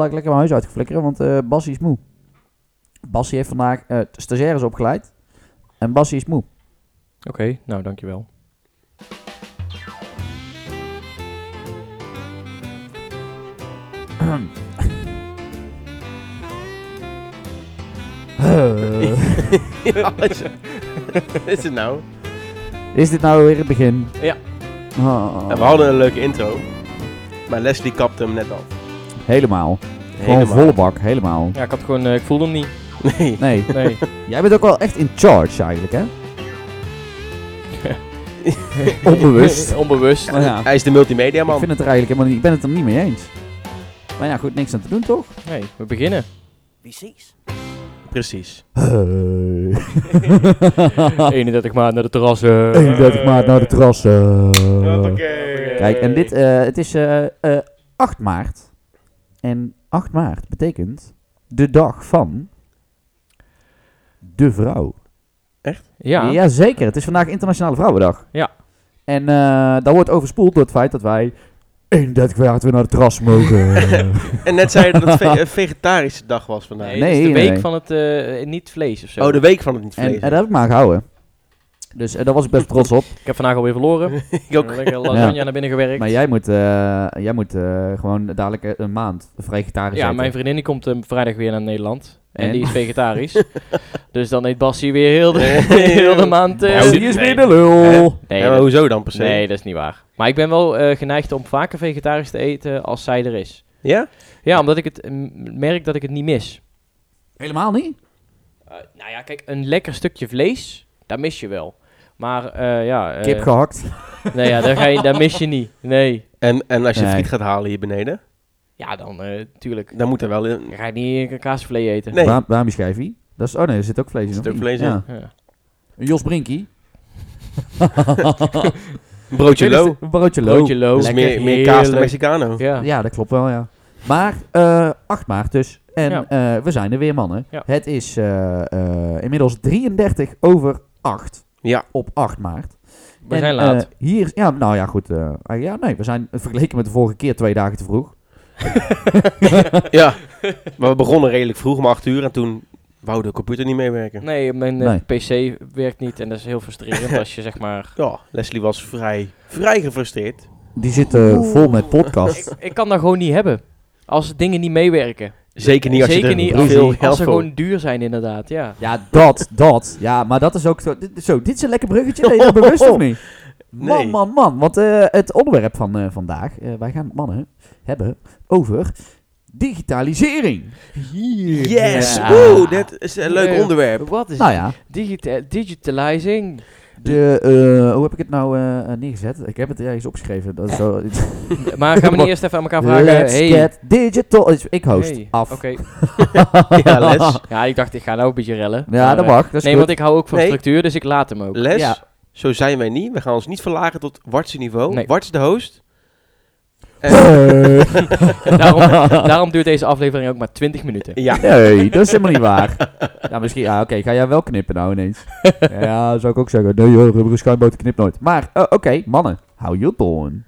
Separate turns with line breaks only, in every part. Laat ik lekker mijn huis uitflikkeren, want eh Bassie is moe. Bassie heeft vandaag eh stagiaires opgeleid. En Bassie is moe.
Oké, nou dankjewel.
Wat is het nou?
Is dit nou weer het begin?
Ja.
Oh,
Nou, we hadden een leuke intro, maar Leslie kapte hem net af.
Helemaal. Gewoon
Helemaal.
volle bak, helemaal.
Ja, ik had gewoon, eh, ik voelde hem niet.
Nee.
Nee.
Nee.
Jij bent ook wel echt in charge eigenlijk, hè? Onbewust.
Onbewust.
Maar ja,
Hij is de multimedia
ik
man.
vind het er eigenlijk helemaal niet. Ik ben het er niet mee eens. Maar ja, goed, niks aan te doen, toch?
Nee, we beginnen.
Precies.
Precies. Ah.
31 maart naar de eh. terrassen.
31 maart naar de eh. terrassen.
Hoppakee.
Kijk, en dit, eh, het is eh, eh, 8 maart. En 8 maart betekent de dag van de vrouw.
Ja.
zeker. Het is vandaag Internationale Vrouwendag.
Ja.
En eh dat wordt overspoeld door het feit dat wij 31 maart weer naar het terras mogen.
En net zei je dat het ve- een vegetarische dag was vandaag.
Nee,
Nee,
het is de
nee,
week
nee.
van het eh, niet vlees of zo.
Oh, de week van het niet
en,
vlees.
en dat heb ik me aan gehouden. Dus eh, daar was ik best trots op.
Ik heb vandaag alweer verloren.
Ik ook.
Lekker lasagne naar binnen gewerkt.
Maar jij moet, eh, jij moet eh, gewoon dadelijk eh, een maand vegetarisch
Ja,
eten.
mijn vriendin die komt eh, vrijdag weer naar Nederland. En,
En?
die is vegetarisch. dus dan eet Bassie weer heel de,
Nee.
heel de maand. eh,
Nou,
Die is weer de lul.
nee,
ja, maar
dat-
hoezo dan per se?
nee, dat is niet waar. Maar ik ben wel eh, geneigd om vaker vegetarisch te eten als zij er is.
Ja?
Ja, omdat ik het eh, merk dat ik het niet mis.
Helemaal niet?
Eh, nou ja, kijk, een lekker stukje vlees, daar mis je wel. Maar eh, ja... eh,
Kip gehakt.
Nee, ja, daar, ga je, daar mis je niet. Nee.
En, en als je
Nee.
friet gaat halen hier beneden,
Ja, dan eh tuurlijk.
dan moet er wel een...
Dan ga je niet een kaasvlees eten.
Nee.
Waar, waarom is schijfie? Dat is, oh nee, er zit ook vlees in.
Er zit
of
ook
niet?
vlees in.
Ja.
Ja.
Een Jos Brinkie.
Een broodje low.
Een broodje low.
Broodje low.
Dat is meer, meer kaas dan Mexicano.
Ja.
Ja, dat klopt wel, ja. Maar eh 8 maart dus. En
Ja.
eh, we zijn er weer, mannen.
Ja.
Het is eh, eh, inmiddels 33 over 8.
Ja.
Op 8 maart.
We
En,
zijn laat.
eh, hier is, ja, nou ja, goed. eh, ah, ja, nee, we zijn vergeleken met de vorige keer twee dagen te vroeg.
Ja. Maar we begonnen redelijk vroeg om 8 uur en toen wou de computer niet meewerken.
nee, mijn eh, PC werkt niet en dat is heel frustrerend als je zeg maar...
Ja, Leslie was vrij, vrij gefrustreerd.
Die zitten vol met podcast.
Ik, ik kan dat gewoon niet hebben. Als dingen niet meewerken.
Zeker niet als
Zeker
je er
niet
heel
als,
veel
als
geld
ze
voor-
gewoon duur zijn inderdaad, ja.
Ja, dat, dat. Ja, maar dat is ook zo. Dit, zo, dit is een lekker bruggetje. Ben je dat bewust of niet? Man,
Nee.
man, man. Want eh, het onderwerp van eh, vandaag, eh, wij gaan het, mannen hebben over digitalisering.
Yes!
Ja.
Oeh, dat is een leuk
Nee.
onderwerp.
Wat is
Nou ja,
digita- digitalizing?
de, eh, hoe heb ik het nou eh, neergezet? Ik heb het ergens opgeschreven. Dat is zo,
Maar gaan we niet eerst even aan elkaar vragen?
Let's
hey.
get digital. Ik host
hey.
af.
Oké.
Ja, Les.
Ja, ik dacht, ik ga nou een beetje rellen.
Ja,
Maar,
dat
eh,
mag. Dat is
nee,
goed.
want ik hou ook van
Nee.
structuur, dus ik laat hem ook.
Les,
Ja.
zo zijn wij niet. We gaan ons niet verlagen tot Wartse niveau.
Nee.
Wart is de host. En,
Hey.
daarom, daarom duurt deze aflevering ook maar 20 minuten.
ja,
Nee, dat is helemaal niet waar. Ja, misschien, ja, oké, ga jij wel knippen nou ineens? Ja, zou ik ook zeggen. Nee joh, rubberen schuimboot knipt nooit. Maar, eh, oké, mannen, how you doing?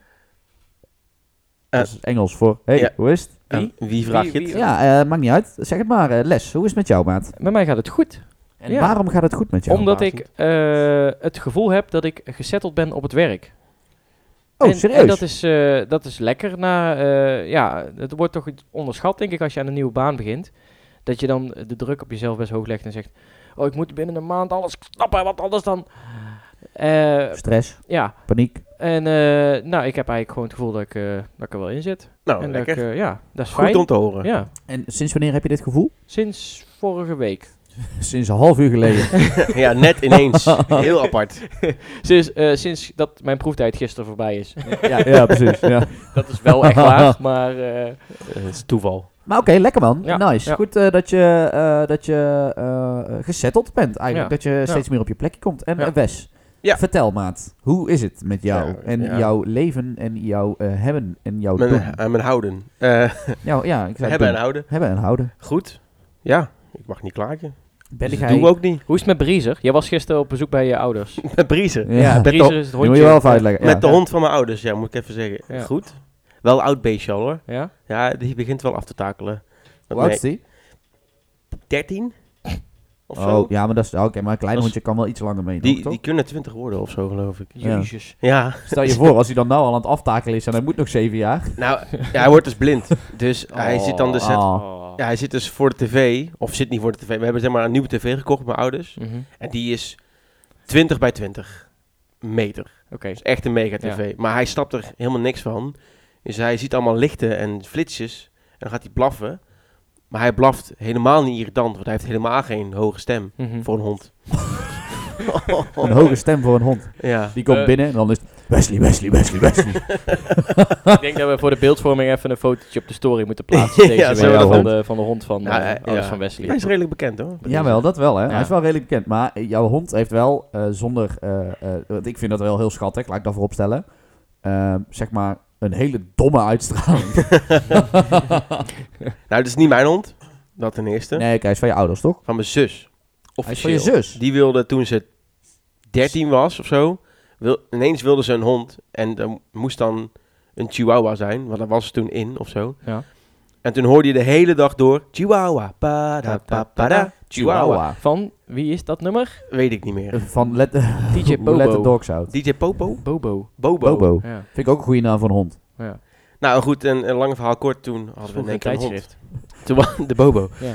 dat is Engels voor, hey,
ja.
hoe is het?
en
Wie?
wie, vraag je
Wie-
het?
wie-
Ja, eh, maakt niet uit. Zeg het maar, eh, Les, hoe is het met jou, maat?
Met mij gaat het goed.
En
Ja.
waarom gaat het goed met jou?
omdat
baas
ik eh, het gevoel heb dat ik gesetteld ben op het werk.
oh,
en,
serieus?
En dat is, eh, dat is lekker. Na, eh, ja, het wordt toch onderschat, denk ik, als je aan een nieuwe baan begint. Dat je dan de druk op jezelf best hoog legt en zegt... Oh, ik moet binnen een maand alles knappen, want anders dan... Eh,
Stress,
ja,
paniek.
en eh, nou, ik heb eigenlijk gewoon het gevoel dat ik, eh, dat ik er wel in zit.
Nou,
en dat
lekker.
ik, eh, ja, dat is
Goed
fijn.
om te horen.
Ja,
En sinds wanneer heb je dit gevoel?
sinds vorige week.
Sinds een half uur geleden.
Ja, net ineens. Heel apart.
Sinds, eh, sinds dat mijn proeftijd gisteren voorbij is.
ja, ja, precies. Ja.
dat is wel echt waar, maar... eh,
Het is toeval.
Maar oké, lekker man.
Ja,
nice.
ja.
Goed eh, dat je, eh dat je eh, eh, gezetteld bent eigenlijk.
Ja,
Dat je steeds meer op je plekje komt. En
Ja.
eh, Wes,
Ja.
vertel maat. Hoe is het met jou?
Ja,
en
ja.
jouw leven en jouw eh, hebben en jouw
Oh,
doen?
Mijn, aan mijn houden. Eh,
Jou- ja, ik zei
hebben en
doen.
houden.
Hebben en houden.
Goed. Ja, ik mag niet klagen.
Ben
Dus
jij...
dat doen we ook niet.
hoe is het met Briezer? Jij was gisteren op bezoek bij je ouders.
Met Briezen.
Ja,
met, de,
Briezer is het
die
hondje.
moet je wel even uitleggen. Ja.
met de hond van mijn ouders, ja, moet ik even zeggen.
Ja.
Goed. Wel een oud beestje al hoor.
Ja?
Ja, die begint wel af te takelen. Dat
Hoe oud is
merk-
die?
13? Of zo?
Oh, ja, maar dat is... Oké, maar een klein
Dat is-
hondje kan wel iets langer mee,
die,
toch?
die kunnen 20 worden of zo, geloof ik.
Ja.
Jezus.
Ja,
Stel je voor, als hij dan nou al aan het aftakelen is en hij moet nog zeven jaar.
nou, ja, hij wordt dus blind. Dus hij
Oh.
zit dan dus... het-
Oh.
Oh.
ja, hij zit dus voor de tv, of zit niet voor de tv. We hebben zeg maar een nieuwe tv gekocht met mijn ouders.
Mhm.
En die is 20 bij 20 meter.
Oké.
Dus echt een mega tv. Maar hij snapt er helemaal niks van. Dus hij ziet allemaal lichten en flitsjes. En dan gaat hij blaffen. Maar hij blaft helemaal niet irritant, want hij heeft helemaal geen hoge stem
Mhm.
voor een hond.
Een hoge stem voor een hond.
Ja.
Die komt
Eh.
binnen en dan is het... Wesley, Wesley, Wesley, Wesley.
Ik denk dat we voor de beeldvorming even een fotootje op de story moeten plaatsen. Deze
Ja,
week
zullen we dat
van,
doen?
de, van de hond van,
Ja,
eh,
eh,
Alles
ja.
van
Hij
Wesley.
is redelijk bekend hoor.
Jawel, dat wel, hè.
Ja.
Hij is wel redelijk bekend. Maar eh, jouw hond heeft wel, eh, zonder... eh, eh, want ik vind dat wel heel schattig, laat ik dat voorop stellen. Eh, zeg maar, een hele domme uitstraling.
Nou, dat is niet mijn hond. Dat ten eerste.
nee, kijk, hij is van je ouders, toch?
Van mijn zus. Of
Hij is van je zus.
Die wilde toen ze 13 was of zo. Wil, ineens wilde ze een hond. En dan moest dan een chihuahua zijn. Want dat was ze toen in of zo.
Ja.
En toen hoorde je de hele dag door. Chihuahua. Pada, pa, pada, chihuahua.
Van wie is dat nummer?
Weet ik niet meer.
Eh, Van let,
DJ
Hoe let the
Bobo.
dogs out.
DJ Popo?
Bobo.
Bobo.
Bobo.
Ja.
Vind ik ook een goede naam voor een hond.
ja.
Nou goed, en een lang verhaal kort. Toen hadden we
Vroeger
ineens
een
een hond. Toen, wa- de Bobo.
Ja.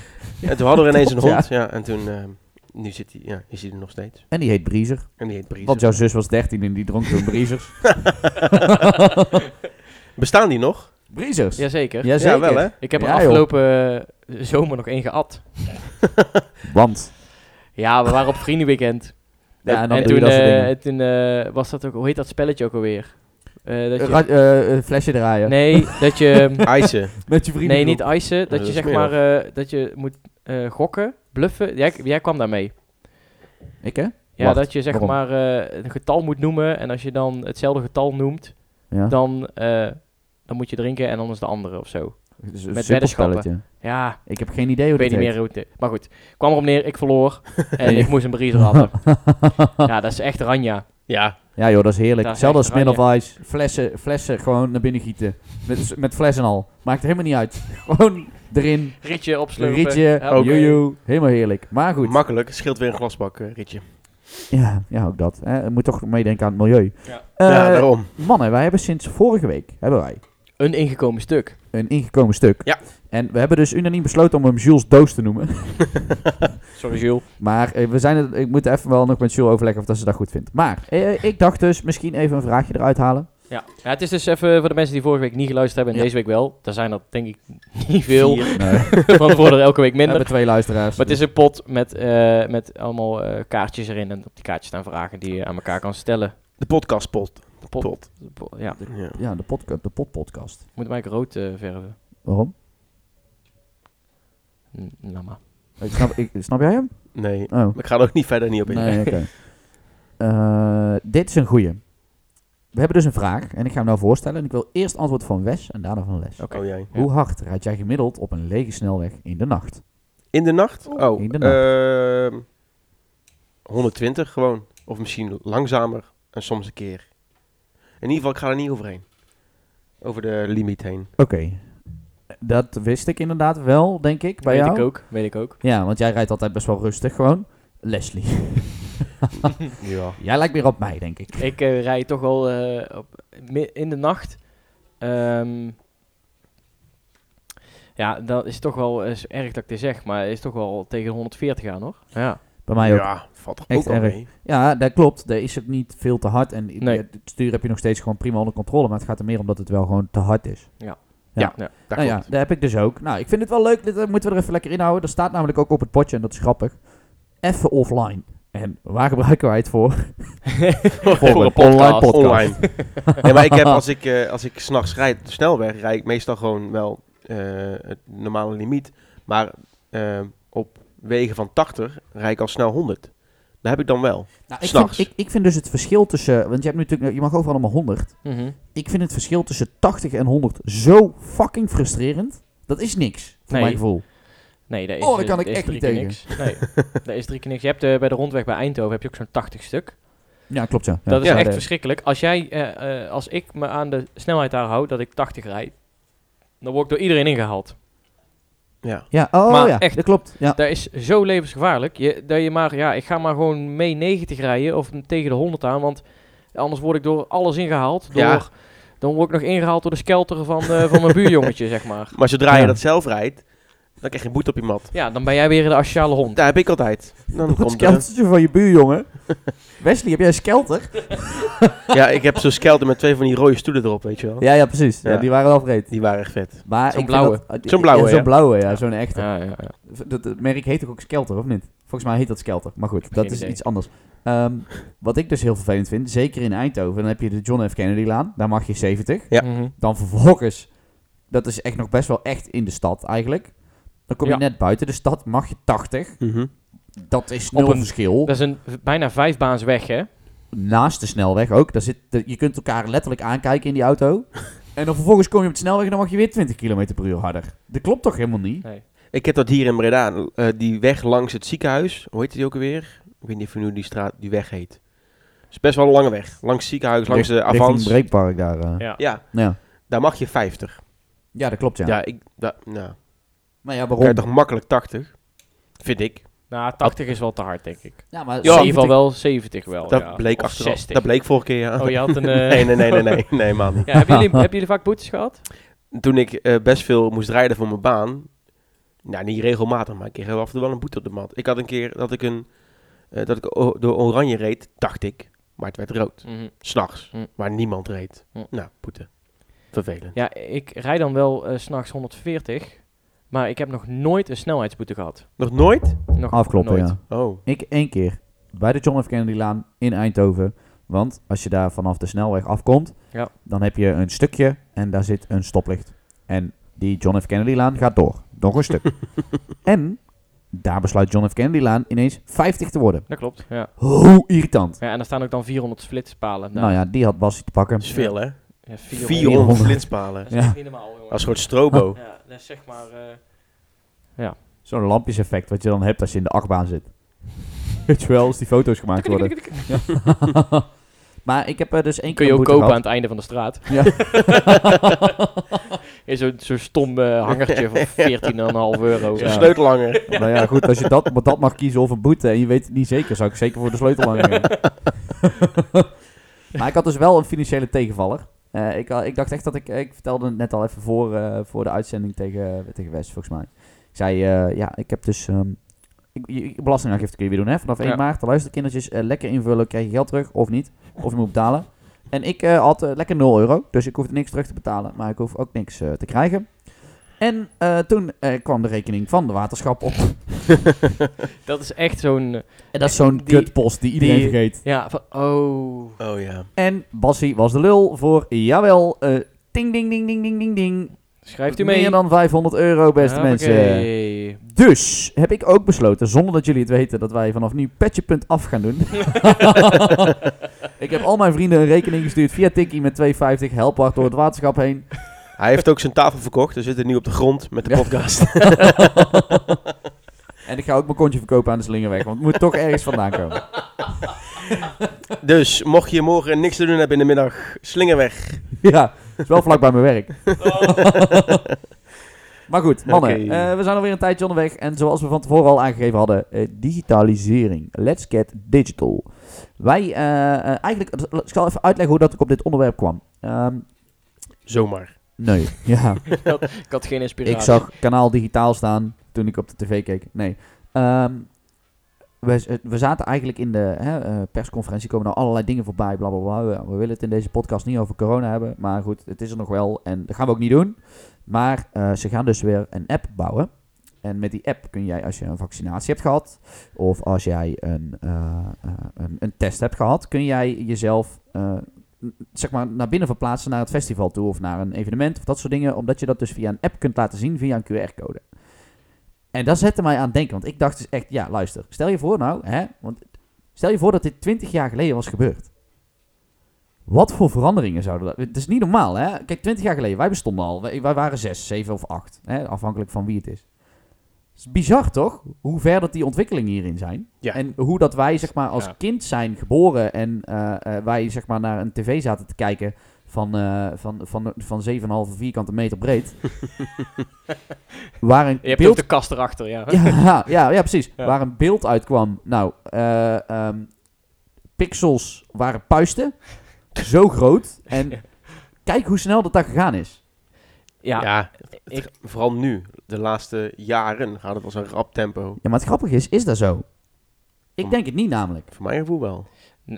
En toen hadden we ineens een
Klopt,
hond. Ja. en toen... ehm, nu zit hij, ja, is hij er nog steeds.
En die heet Briezer.
En die heet Breeze.
Want jouw zus was 13 en die dronk toen Briezers.
Bestaan die nog?
Briezers?
Jazeker.
Jazeker.
Ja, wel, hè?
Ik heb er
Ja, joh.
afgelopen eh, zomer nog één geat.
Want.
Ja, we waren op vriendenweekend.
Ja, en dan doe
toen,
je dat soort
eh,
dingen.
toen eh, was dat ook, hoe heet dat spelletje ook alweer? Eh, dat je-
Ra- eh, eh, flesje draaien.
nee, dat je,
Eisen.
Met je vrienden.
nee, niet icen. Dat
dat
je
is
zeg
smerig.
maar, eh, dat je moet eh, gokken, bluffen. Jij, jij kwam daarmee.
Ik, hè?
Ja,
Wacht,
dat je zeg
waarom?
maar eh, een getal moet noemen. En als je dan hetzelfde getal noemt,
Ja.
dan, eh, dan moet je drinken en dan is de andere of zo.
Het is een
met
simpel
weddenschappen.
spelletje.
Ja,
Ik heb geen idee hoe
ik weet
dit
niet meer
heet.
hoe het... eh, Maar goed, kwam erop neer, ik verloor. En ik moest een briezer hadden. ja, dat is echt ranja.
Ja.
Ja joh, dat is heerlijk.
Daar
Hetzelfde als
ga ik
Smirnoff Ice. Flessen, flessen gewoon naar binnen gieten. Met, met flessen al. Maakt helemaal niet uit. Gewoon erin.
Rietje
Een
opslopen.
rietje.
Help.
Joejoe. Helemaal heerlijk. Maar goed.
Makkelijk, scheelt weer een glasbak, eh, Rietje.
ja, ja, ook dat. Hè. Je moet toch meedenken aan het milieu.
Ja.
Eh,
ja, daarom.
mannen, wij hebben sinds vorige week... Hebben wij
Een ingekomen stuk.
een ingekomen stuk.
Ja.
En we hebben dus unaniem besloten om hem Jules Doos te noemen.
Sorry Jules.
Maar eh, we zijn het, ik moet even wel nog met Jules overleggen of dat ze dat goed vindt. Maar eh, ik dacht dus misschien even een vraagje eruit halen.
Ja. ja, het is dus even voor de mensen die vorige week niet geluisterd hebben en
Ja.
deze week wel. Daar zijn er denk ik niet veel,
Vier.
Nee, we
want we worden elke week minder.
hebben twee luisteraars.
Maar het is een pot met, eh, met allemaal eh, kaartjes erin. En op die kaartjes staan vragen die je aan elkaar kan stellen.
De podcastpot.
Pot.
Pot.
Ja,
Ja.
Ja, de, podca- de potpodcast.
moet mij rood eh, verven.
Waarom?
Hm, Nou maar.
Ik snap, ik, snap jij hem?
Nee,
Oh.
maar ik ga er ook niet verder niet op in.
Nee, oké. Eh, dit is een goeie. We hebben dus een vraag en ik ga hem nou voorstellen. En ik wil eerst antwoord van Wes en daarna van Les.
Oké.
Oh, jij.
Hoe hard rijd jij gemiddeld op een lege snelweg in de nacht?
In de nacht? Oh,
in de
ehm, 120 gewoon. Of misschien langzamer en soms een keer. In ieder geval, ik ga er niet overheen. Over de limiet heen.
Oké. Dat wist ik inderdaad wel, denk ik, bij
weet
jou.
ik ook, weet ik ook.
Ja, want jij rijdt altijd best wel rustig gewoon. Leslie.
Ja.
Jij lijkt meer op mij, denk ik.
Ik eh, rij toch al eh, op, mi- in de nacht. Ehm, ja, dat is toch wel is erg dat ik dit zeg, maar is toch wel tegen 140 aan hoor. Ja.
Bij mij ook. Ja,
Ja, valt toch
Echt
ook al
erg.
mee.
dat klopt. Daar is het niet veel te hard. En
Nee.
het stuur heb je nog steeds gewoon prima onder controle. Maar het gaat er meer om dat het wel gewoon te hard is.
Dat
nou ja,
klopt.
daar heb ik dus ook. Nou, ik vind het wel leuk. Dit eh, moeten we er even lekker in houden. Er staat namelijk ook op het potje, en dat is grappig. Even offline. En waar gebruiken wij het voor?
Voor een
online
podcast.
podcast.
Online. nee, maar ik heb, als ik, eh, als ik s'nachts rijd, op de snelweg, rijd ik meestal gewoon wel eh, het normale limiet. Maar eh, op wegen van 80 rijd ik al snel 100. Dat heb ik dan wel.
Nou, ik,
S'nachts.
vind, ik, ik vind dus het verschil tussen... Want je, hebt nu natuurlijk, je mag overal allemaal 100.
Mhm.
Ik vind het verschil tussen 80 en 100 zo fucking frustrerend. Dat is niks, voor
Nee.
mijn gevoel.
Nee, daar is,
Oh, daar
dus-
kan ik
daar is
echt
drie
niet
keer
tegen.
Niks. Nee, daar is drie keer niks. Je hebt eh, bij de rondweg bij Eindhoven heb je ook zo'n 80 stuk.
Ja, klopt ja. Ja,
Dat is
ja,
echt
de-
verschrikkelijk. Als jij, eh, eh, als ik me aan de snelheid daar hou, dat ik 80 rijd, dan word ik door iedereen ingehaald.
Ja.
Ja, oh
Maar
ja,
echt.
dat klopt. Ja.
Dat is zo levensgevaarlijk. Je, dat je maar, ja, ik ga maar gewoon mee 90 rijden of tegen de 100 aan, want anders word ik door alles ingehaald. Door,
Ja.
Dan word ik nog ingehaald door de skelter van, eh, van mijn buurjongetje, zeg maar.
Maar zodra
Ja.
je dat zelf rijdt, dan krijg je boet op je mat.
Ja, dan ben jij weer de asociale hond.
Daar heb ik altijd. Dan
Dat
komt eh,
skeltertje van je buurjongen. Wesley, heb jij een skelter?
ja, ik heb zo'n skelter met twee van die rode stoelen erop, weet je wel.
Ja, ja precies. Ja,
Ja.
die waren afreed.
Die waren echt vet.
Maar
Zo'n
ik vind
blauwe.
dat-
Zo'n blauwe,
ja, Zo'n
ja.
blauwe, ja. Zo'n echte.
Ja, ja, ja.
V- Dat, dat merk heet toch ook Skelter, of niet? Volgens mij heet dat Skelter. Maar goed, dat
geen
is
idee.
iets anders. Ehm, wat ik dus heel vervelend vind, zeker in Eindhoven, dan heb je de John F. Kennedy-laan. Daar mag je 70.
Ja.
Mhm.
Dan vervolgens, dat is echt nog best wel echt in de stad eigenlijk. Dan kom je
Ja.
net buiten de stad, mag je 80. Dat is nul
Op een-
verschil.
Dat is een v- bijna vijfbaans weg, hè?
Naast de snelweg ook. Daar zit, de- je kunt elkaar letterlijk aankijken in die auto. en dan vervolgens kom je op de snelweg en dan mag je weer 20 km per uur harder. Dat klopt toch helemaal niet?
Ik heb dat hier in Breda, eh, die weg langs het ziekenhuis. Hoe heet die ook alweer? Ik weet niet of je nu die straat, die weg heet. Het is best wel een lange weg. Langs het ziekenhuis, dus langs de
Richt- richting
Avans.
het breekpark daar. eh.
Ja.
Ja,
Ja.
daar mag je 50.
ja, dat klopt ja.
Ja, ik, da, nou,
Maar ja,
dan kan je
waarom?
toch makkelijk 80? Vind ik.
Nou, 80 is wel te hard, denk ik.
Ja, maar
Ja, in ieder
70
geval wel 70 wel.
dat
Oh ja.
bleek
Of
achteraf.
60.
Dat bleek vorige keer, ja.
Oh, je had een... eh,
Nee, nee, nee, nee, nee, nee, man. niet.
Ja, hebben, jullie, hebben jullie vaak boetes gehad?
Toen ik eh, best veel moest rijden voor mijn baan, nou niet regelmatig, maar ik kreeg heel af en toe wel een boete op de mat. Ik had een keer dat ik een, eh, dat ik o- door oranje reed, dacht ik, maar het werd rood. S'nachts,
Hm.
waar niemand reed.
Hm.
Nou, boete. Vervelend.
Ja, ik rijd dan wel eh, 's s'nachts 140, maar ik heb nog nooit een snelheidsboete gehad.
Nog nooit?
Nog
Afkloppen,
nooit.
ja.
Oh,
Ik één keer bij de John F. Kennedy-laan in Eindhoven. Want als je daar vanaf de snelweg afkomt,
Ja.
dan heb je een stukje en daar zit een stoplicht. En die John F. Kennedy-laan gaat door. Nog een stuk. en daar besluit John F. Kennedy-laan ineens 50 te worden.
Dat klopt, ja.
Hoe irritant.
ja. En er staan ook dan 400 flitspalen.
Nou ja, die had Bassie te pakken.
dat is veel hè?
ja, 400.
400
Dat
flitspalen.
is
Ja.
echt niet normaal, jongen.
Als een soort strobo.
Ja, dat is zeg maar... eh,
Zo'n lampjeseffect wat je dan hebt als je in de achtbaan zit. Weet je wel, als die foto's gemaakt worden. Ja. maar ik heb eh, dus één keer
kun je
een
ook
boete
kopen aan
gehad.
het einde van de straat.
Ja.
In zo'n zo'n stom eh, hangertje van 14,5 euro.
Zo'n sleutelhanger.
Nou ja, goed, als je dat, maar dat mag kiezen of een boete en je weet het niet zeker, zou ik zeker voor de sleutel aan gaan. maar ik had dus wel een financiële tegenvaller. Eh, ik, had- ik dacht echt dat ik, ik vertelde het net al even voor, eh, voor de uitzending tegen, tegen West, volgens mij. Ik zei, eh, ja, ik heb dus, ehm, ik, je- je belastingaangifte kun je weer doen, hè, vanaf 1
Ja.
maart. Luister kindertjes, eh, lekker invullen, krijg je geld terug of niet, of je moet betalen. En ik eh, had eh, lekker 0 euro, dus ik hoefde niks terug te betalen, maar ik hoef ook niks eh, te krijgen. En eh, toen eh, kwam de rekening van de waterschap op.
Dat is echt zo'n... eh,
En dat is zo'n
Die-
kutpost die iedereen
die-
vergeet.
Ja, van... Oh...
Oh ja.
En Bassie was de lul voor, jawel, eh ding, ding, ding, ding, ding, ding, ding.
Schrijft u mee.
Meer dan 500 euro, beste mensen.
Hoppakee.
Dus heb ik ook besloten, zonder dat jullie het weten, dat wij vanaf nu petje.af gaan doen. ik heb al mijn vrienden een rekening gestuurd via Tikkie met 2,50 helpwacht door het waterschap heen.
Hij heeft ook zijn tafel verkocht. Er zit er nu op de grond met de
Ja.
podcast.
En ik ga ook mijn kontje verkopen aan de Slingerweg, want het moet toch ergens vandaan komen.
Dus mocht je morgen niks te doen hebben in de middag, slinger weg.
Ja, is wel vlak bij mijn werk. maar goed, mannen,
Oké.
eh, we zijn alweer een tijdje onderweg. En zoals we van tevoren al aangegeven hadden, eh, digitalisering. Let's get digital. Wij, eh, eh, eigenlijk, ik zal even uitleggen hoe dat ik op dit onderwerp kwam. Ehm,
Zomaar.
nee, ja.
Ik had geen inspiratie.
Ik zag kanaal digitaal staan toen ik op de tv keek. Nee. Ehm, we, z- eh, we zaten eigenlijk in de hè, eh, persconferentie, komen nou allerlei dingen voorbij, bla bla bla. We, we willen het in deze podcast niet over corona hebben, maar goed, het is er nog wel en dat gaan we ook niet doen. Maar eh, ze gaan dus weer een app bouwen. En met die app kun jij, als je een vaccinatie hebt gehad, of als jij een, eh, eh, een, een test hebt gehad, kun jij jezelf eh, n- zeg maar naar binnen verplaatsen naar het festival toe of naar een evenement of dat soort dingen. Omdat je dat dus via een app kunt laten zien via een QR-code. En dat zette mij aan het denken, want ik dacht dus echt, ja luister, stel je voor nou, hè, want stel je voor dat dit 20 jaar geleden was gebeurd. Wat voor veranderingen zouden dat... Het is niet normaal, hè? Kijk, 20 jaar geleden, wij bestonden al. Wij, wij waren zes, zeven of acht. Hè? Afhankelijk van wie het is. is bizar toch? Hoe ver dat die ontwikkelingen hierin zijn.
Ja.
En hoe dat wij zeg maar als
Ja.
kind zijn geboren en eh, eh, wij zeg maar naar een tv zaten te kijken van, eh, van, van, van, 7,5 vierkante meter breed. waar een
Je hebt
beeld
ook de kast erachter, ja.
ja, ja, ja, precies.
Ja.
Waar een beeld uitkwam. Nou, eh, ehm, pixels waren puisten. Zo groot. En
Ja.
kijk hoe snel dat daar gegaan is.
Ja,
het-
ik-
het- vooral nu, de laatste jaren, gaat het als een rap tempo.
Ja, maar het grappige is, is dat zo? Ik
Hm.
Om-
denk het niet namelijk.
Voor mijn gevoel wel.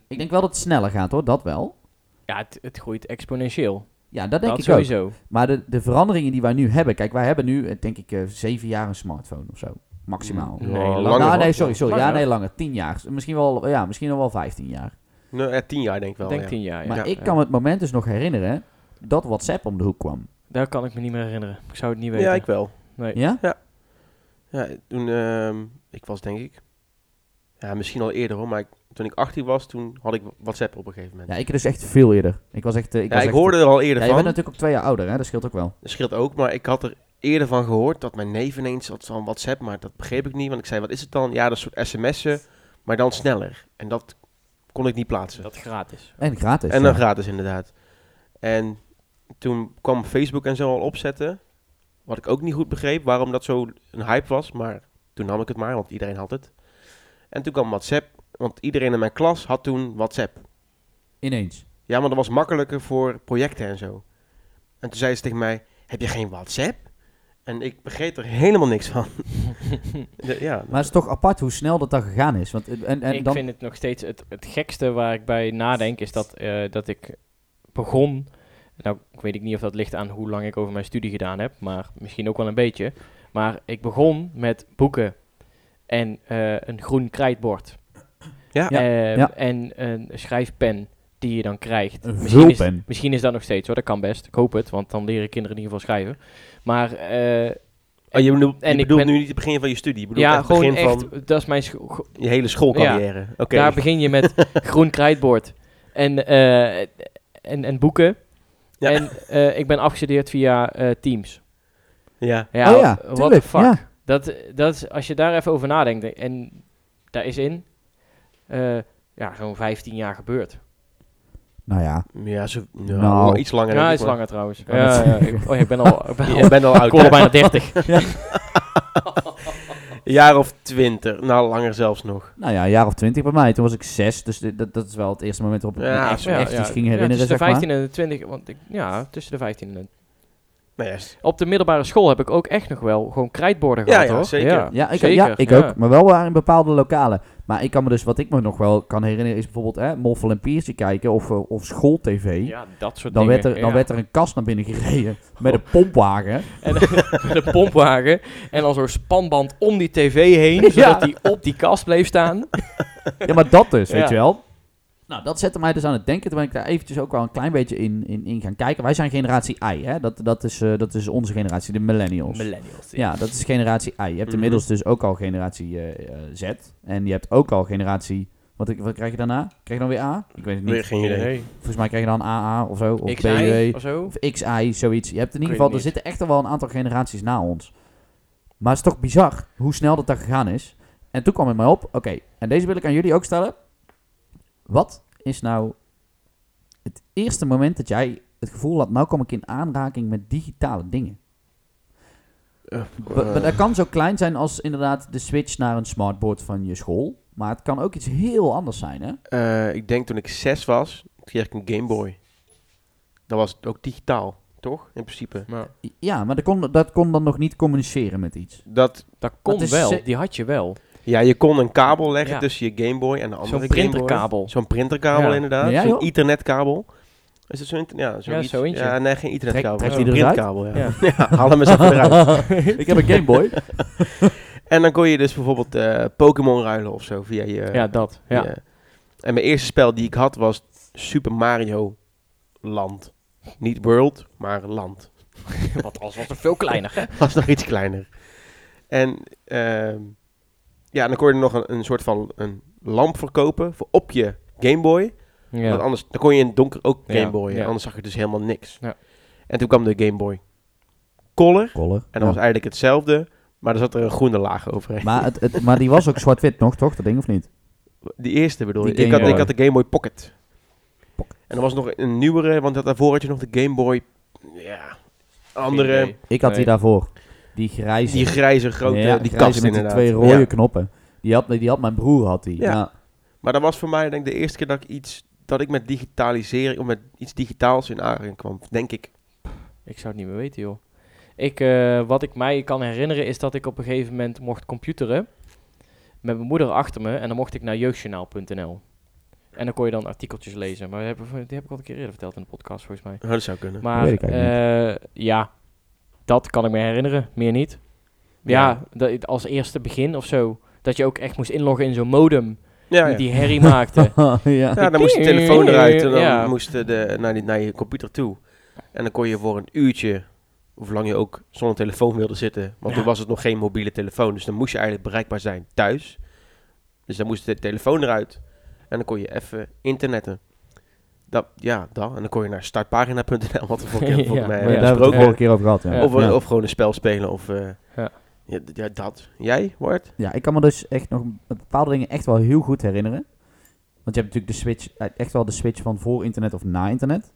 Ik denk wel dat het sneller gaat hoor, dat wel.
ja het, het groeit exponentieel.
Ja, dat denk
dat
ik ook.
sowieso.
Maar de, de veranderingen die wij nu hebben... Kijk, wij hebben nu, eh, denk ik, eh, zeven jaar een smartphone of zo. Maximaal.
Nee,
Ja,
langer
Nou,
hoor.
nee, sorry, sorry. Ja,
Langer.
nee, langer. Tien jaar. Misschien wel, ja, misschien nog wel vijftien jaar.
Nou, ja, tien jaar denk ik wel.
ik denk
ja.
tien jaar, ja.
Maar
Ja.
ik kan me het moment dus nog herinneren dat WhatsApp om de hoek kwam.
Daar kan ik me niet meer herinneren. Ik zou het niet weten.
Ja, ik wel.
Nee.
Ja?
Ja, toen, ehm, ik was denk ik, ja, misschien al eerder hoor, maar ik- toen ik 18 was, toen had ik WhatsApp op een gegeven moment.
Ja, ik dus echt veel eerder. Ik was echt... eh,
Ja,
ik
ik,
was echt-
hoorde er al eerder
Ja, je
van.
bent natuurlijk ook twee jaar ouder, hè? Dat scheelt ook wel.
Dat scheelt ook, maar ik had er eerder van gehoord dat mijn neef ineens had zo'n WhatsApp, maar dat begreep ik niet. Want ik zei, wat is het dan? Ja, dat is een soort sms'en, maar dan sneller. En dat kon ik niet plaatsen.
Dat gratis.
En gratis.
en dan
eh,
ja.
gratis inderdaad. En toen kwam Facebook en zo al opzetten, wat ik ook niet goed begreep, waarom dat zo een hype was. Maar toen nam ik het maar, want iedereen had het. En toen kwam WhatsApp, want iedereen in mijn klas had toen WhatsApp.
Ineens.
Ja, maar dat was makkelijker voor projecten en zo. En toen zei ze tegen mij, heb je geen WhatsApp? En ik begreep er helemaal niks van. De- ja,
Maar het is toch apart hoe snel dat dan gegaan is. Want, eh, en, en
ik
dan,
vind het nog steeds het, het gekste waar ik bij nadenk is dat, eh, dat ik begon. Nou, ik weet ik niet of dat ligt aan hoe lang ik over mijn studie gedaan heb, maar misschien ook wel een beetje. Maar ik begon met boeken en eh, een groen krijtbord.
Ja.
Ja.
Eh,
Ja.
En een schrijfpen die je dan krijgt.
Een
misschien, is,
vulpen.
misschien is dat nog steeds hoor, dat kan best. Ik hoop het, want dan leren kinderen in ieder geval schrijven. Maar eh,
Oh, je bedoelt,
en
je
ik
bedoelt
ben-
nu niet het begin van je studie. Je bedoelt
ja,
echt het
gewoon
begin
echt,
van
dat is mijn scho-
je hele schoolcarrière. Oké.
Daar begin je met groen krijtbord en, eh, en, en boeken.
Ja.
En eh, ik ben afgestudeerd via eh, Teams.
Ja.
Ja,
oh ja,
what the
tuurlijk,
fuck.
ja.
Dat, dat, is- als je daar even over nadenkt, eh, en daar is in eh, ja, zo'n 15 jaar gebeurd.
Nou ja.
Ja, zo, ja,
Nou.
wel iets langer.
Ja,
denk
is
ik, maar-
langer trouwens.
kan
Ja,
het
ja, ik, oh, ja, ik ben al, ik ben al,
Je bent al
ik
oud.
word al
hè?
bijna 30.
Een jaar of twintig. Nou, langer zelfs nog.
Nou ja, een jaar of twintig bij mij. Toen was ik zes. Dus dit- dat, dat is wel het eerste moment waarop ik me
Ja,
echt,
ja,
echt iets ging
ja,
herinneren,
tussen de
zeg maar.
15 en de 20, want ik, ja, tussen de 15 en de
Nou, ja, is-
Op de middelbare school heb ik ook echt nog wel gewoon krijtborden
Ja,
gehad,
ja,
hoor.
zeker.
Ja, ik,
zeker,
ja, ik
ja.
ook. Maar wel waar in bepaalde lokalen. Maar ik kan me dus, wat ik me nog wel kan herinneren, is bijvoorbeeld hè, Moffel en Piersje kijken of, eh, of schooltv.
Ja, dat soort
Dan
dingen.
werd, er, dan
ja.
werd er een kast naar binnen gereden met een pompwagen.
En met een pompwagen. En dan zo'n spanband om die tv heen, zodat
Ja.
die op die kast bleef staan.
Ja, maar dat dus, weet
Ja.
je wel. Nou, dat zette mij dus aan het denken. Toen ben ik daar eventjes ook wel een klein beetje in, in, in gaan kijken. Wij zijn generatie I, hè? Dat, dat, is, eh, dat is onze generatie, de millennials.
Millennials.
ja, dat is generatie I. Je hebt
Mhm.
inmiddels dus ook al generatie eh, eh, Z. En je hebt ook al generatie... Wat, wat krijg je daarna? Krijg je dan weer A? Ik weet het niet.
Weer geen idee.
Volgens mij krijg je dan AA of zo. Of
Ik
BW.
of zo.
Of XI, zoiets. Je hebt in ieder
Ik
geval...
weet het
Er
niet.
zitten echt al wel een aantal generaties na ons. Maar het is toch bizar hoe snel dat daar gegaan is. En toen kwam het mij op. Oké, en deze wil ik aan jullie ook stellen. Wat is nou het eerste moment dat jij het gevoel had... nou kom ik in aanraking met digitale dingen?
Eh,
B- maar dat kan zo klein zijn als inderdaad de switch naar een smartboard van je school. Maar het kan ook iets heel anders zijn, hè?
Eh, ik denk toen ik zes was, kreeg ik een Game Boy. Dat was ook digitaal, toch? In principe.
Ja, maar dat kon, dat kon dan nog niet communiceren met iets.
Dat,
Dat kon
Dat is
wel,
ze-
die had je wel.
ja, je kon een kabel leggen
Ja.
tussen je Game Boy en de andere
Zo'n
Game Boy.
printerkabel.
Zo'n printerkabel
Ja.
inderdaad.
Ja, joh.
zo'n internetkabel. Is het zo'n inter- ja, zo'n
Ja,
iets-
zo eentje.
Ja, nee, geen internetkabel.
Trek-
zo'n
trekt die eruit?
printkabel, ja. Ja. haal hem eens even eruit.
ik heb een Game Boy.
En dan kon je dus bijvoorbeeld eh, Pokémon ruilen of zo via je... eh,
Ja, dat. Ja.
je- En mijn eerste spel die ik had was Super Mario Land. Niet World, maar Land.
Want als was er veel kleiner.
was nog iets kleiner. En ehm, ja, en dan kon je er nog een, een soort van een lamp verkopen voor op je Game Boy. Want
ja.
anders dan kon je in het donker ook
Ja,
Game Boy.
ja.
Anders zag je dus helemaal niks.
Ja.
En toen kwam de Game Boy Color.
Color.
En dat was eigenlijk hetzelfde. Maar er zat er een groene laag overheen.
Maar, het, het, maar die was ook zwart-wit nog, toch? Dat ding of niet?
Die eerste bedoel
Die
je? Ik
Game
had, ik
Boy.
had de Game Boy Pocket.
Pocket.
En er was nog een nieuwere, want daarvoor had je nog de Game Boy... Ja, andere...
idee.
Ik had die
Nee.
daarvoor. Die grijze.
Die grijze grote,
Ja,
die
grijze
kast
met die
inderdaad.
twee rode
Ja.
knoppen. Die had, die had mijn broer, had die.
Ja.
Ja.
Maar dat was voor mij denk ik de eerste keer dat ik iets... Dat ik met digitalisering, of met iets digitaals in aanraking kwam, denk ik.
Ik zou het niet meer weten, joh. Ik, eh, wat ik mij kan herinneren is dat ik op een gegeven moment mocht computeren met mijn moeder achter me en dan mocht ik naar jeugdjournaal.nl. En dan kon je dan artikeltjes lezen. Maar die heb, ik- die heb ik al een keer eerder verteld in de podcast, volgens mij.
Oh, dat zou kunnen.
Maar
weet ik eigenlijk
eh, ja, dat kan ik me herinneren, meer niet. Ja,
Ja.
Dat, ik als eerste begin of zo, dat je ook echt moest inloggen in zo'n modem
ja,
die
ja.
die herrie maakte.
ja.
ja, dan moest de telefoon eruit en dan
Ja.
moest de- de, naar, die, naar je computer toe. En dan kon je voor een uurtje, of lang je ook zonder telefoon wilde zitten. Want toen was het nog geen mobiele telefoon, dus dan moest je eigenlijk bereikbaar zijn thuis. Dus dan moest de telefoon eruit en dan kon je even internetten. Dat, ja, dat. En dan kon je naar startpagina.nl, wat we vorige keer
Ja,
Ja,
maar
volgens mij hebben
ja,
daar hebben we het
besproken.
vorige keer over gehad. Ja.
Ja.
Of, eh,
Ja.
of gewoon een spel spelen of... eh,
Ja.
ja, d- ja, dat. Jij, Ward?
Ja, ik kan me dus echt nog bepaalde dingen echt wel heel goed herinneren. Want je hebt natuurlijk de switch, eh, echt wel de switch van voor internet of na internet.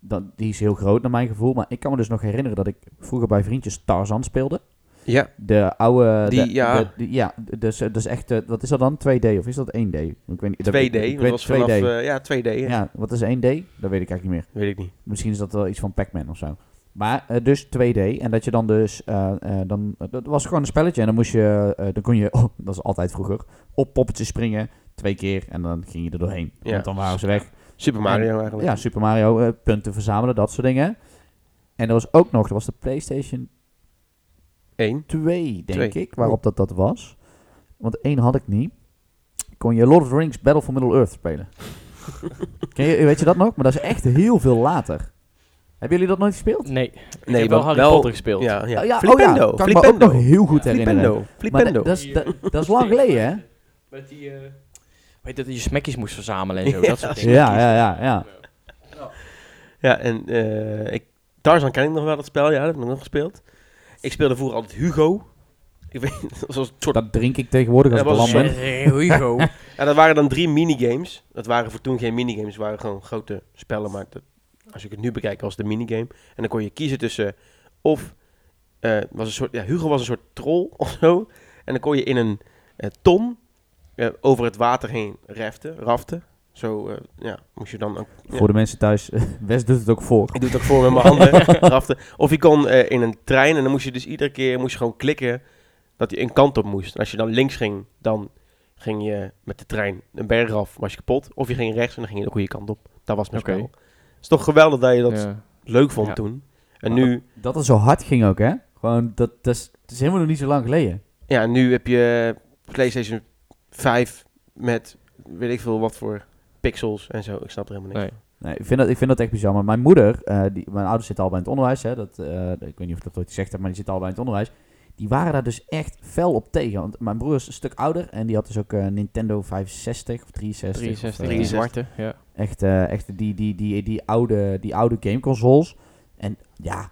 Dat, die is heel groot naar mijn gevoel. Maar ik kan me dus nog herinneren dat ik vroeger bij vriendjes Tarzan speelde.
Ja.
De oude...
Die,
de-
ja.
de- die- ja, dus, dus echt... eh, Wat is dat dan? 2D of is dat 1D? Ik weet niet,
2D.
dat- ik weet-
want dat was vanaf...
2D.
eh, ja, 2D. ja.
ja, wat is 1D? Dat weet ik eigenlijk niet meer.
Weet ik niet.
Misschien is dat wel iets van Pac-Man of zo. Maar eh, dus 2D. En dat je dan dus. eh, eh, dan, dat was gewoon een spelletje. En dan moest je. eh, dan kon je. oh, dat is altijd vroeger. Op poppetjes springen. Twee keer. En dan ging je er doorheen.
Ja.
Want dan waren ze weg.
Super Mario eigenlijk.
Ja, Super Mario. eh, punten verzamelen. Dat soort dingen. En er was ook nog. Er was de PlayStation
Eén.
2, denk
Twee.
ik. Waarop dat dat was. Want één had ik niet. Kon je Lord of the Rings Battle for Middle Earth spelen. Ken je, weet je dat nog? Maar dat is echt heel veel later. Hebben jullie dat nooit gespeeld?
Nee, nee ik
Nee,
heb
wel-
wel Harry
wel-
Potter gespeeld.
Ja, ja.
Oh ja, oh
Flipendo.
ja, kan ik me ook
Flipendo.
nog heel goed herinneren.
Flipendo.
Maar
Flipendo.
dat- dat is- dat- dat is lang geleden, hè?
Met die... eh, weet je, dat je smekjes moest verzamelen en zo, dat soort dingen.
Ja, ja, ja, ja.
Ja, en eh ik, Tarzan ken ik nog wel, dat spel. Ja, dat heb ik nog gespeeld. Ik speelde vroeger altijd Hugo. Ik weet dat was een soort...
Dat drink ik tegenwoordig als
Dat
ik
was
lam ben.
Eh, Hugo.
Ja, dat waren dan drie minigames. Dat waren voor toen geen minigames. Dat waren gewoon grote spellen. Maar dat, als ik het nu bekijk was het een minigame. En dan kon je kiezen tussen... Of... eh, was een soort, ja, Hugo was een soort troll of zo. En dan kon je in een eh, ton eh, over het water heen reften, raften. Zo eh, ja, moest je dan ook Ja.
Voor de mensen thuis, Wes doet het ook voor.
Ik doe het ook voor met mijn handen. Raften. Of je kon eh, in een trein en dan moest je dus iedere keer moest je gewoon klikken dat je een kant op moest. En als je dan links ging, dan ging je met de trein een berg af, was je kapot. Of je ging rechts en dan ging je de goede kant op. Dat was mijn
Oké.
spel. Het is toch geweldig dat je dat
Ja.
leuk vond
Ja.
toen.
Maar
En nu,
Dat het zo hard ging ook, hè? Gewoon, dat, dat is, het is helemaal nog niet zo lang geleden.
ja, nu heb je PlayStation 5 met weet ik veel wat voor pixels en zo. Ik snap er helemaal niks
Nee.
van.
Nee, ik, vind dat, ik vind dat echt bizar. Maar mijn moeder, eh, die, mijn ouders zitten al bij het onderwijs. Hè, dat, eh, ik weet niet of ik dat ooit gezegd heb, maar die zitten al bij het onderwijs. Die waren daar dus echt fel op tegen. Want mijn broer is een stuk ouder en die had dus ook eh, Nintendo 65 of 63. of,
63,
eh,
die zwarte, ja.
Echt, eh, echt die, die, die, die, oude, die oude gameconsoles. En ja,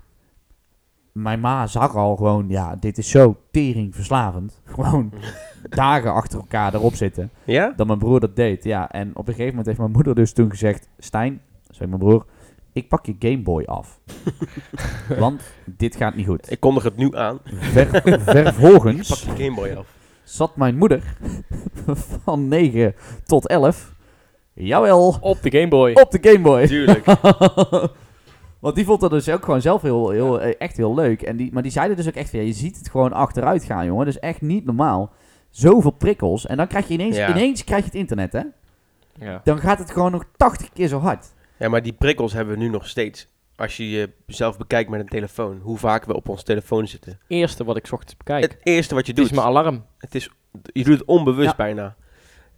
mijn ma zag al gewoon, ja, dit is zo tering verslavend. Gewoon dagen achter elkaar erop zitten.
Ja?
Dat mijn broer dat deed, ja. En op een gegeven moment heeft mijn moeder dus toen gezegd... Stijn, zei mijn broer, ik pak je Game Boy af. Want dit gaat niet goed.
Ik kondig het nu aan.
Ver,
Ik pak
vervolgens
je Game Boy af.
zat mijn moeder van 9 tot 11... Jawel,
Op de Game Boy.
op de Game Boy.
Tuurlijk.
Want die vond dat dus ook gewoon zelf heel, heel, eh, echt heel leuk. En die, maar die zeiden dus ook echt van, ja, je ziet het gewoon achteruit gaan, jongen. Dat is echt niet normaal. Zoveel prikkels. En dan krijg je ineens,
Ja.
ineens krijg je het internet, hè.
Ja.
Dan gaat het gewoon nog 80 keer zo hard.
Ja, maar die prikkels hebben we nu nog steeds. Als je jezelf bekijkt met een telefoon, hoe vaak we op ons telefoon zitten.
Eerste wat ik zocht te bekijken.
Het eerste wat je
Het is
doet,
mijn alarm.
het is, je doet het onbewust
Ja.
bijna.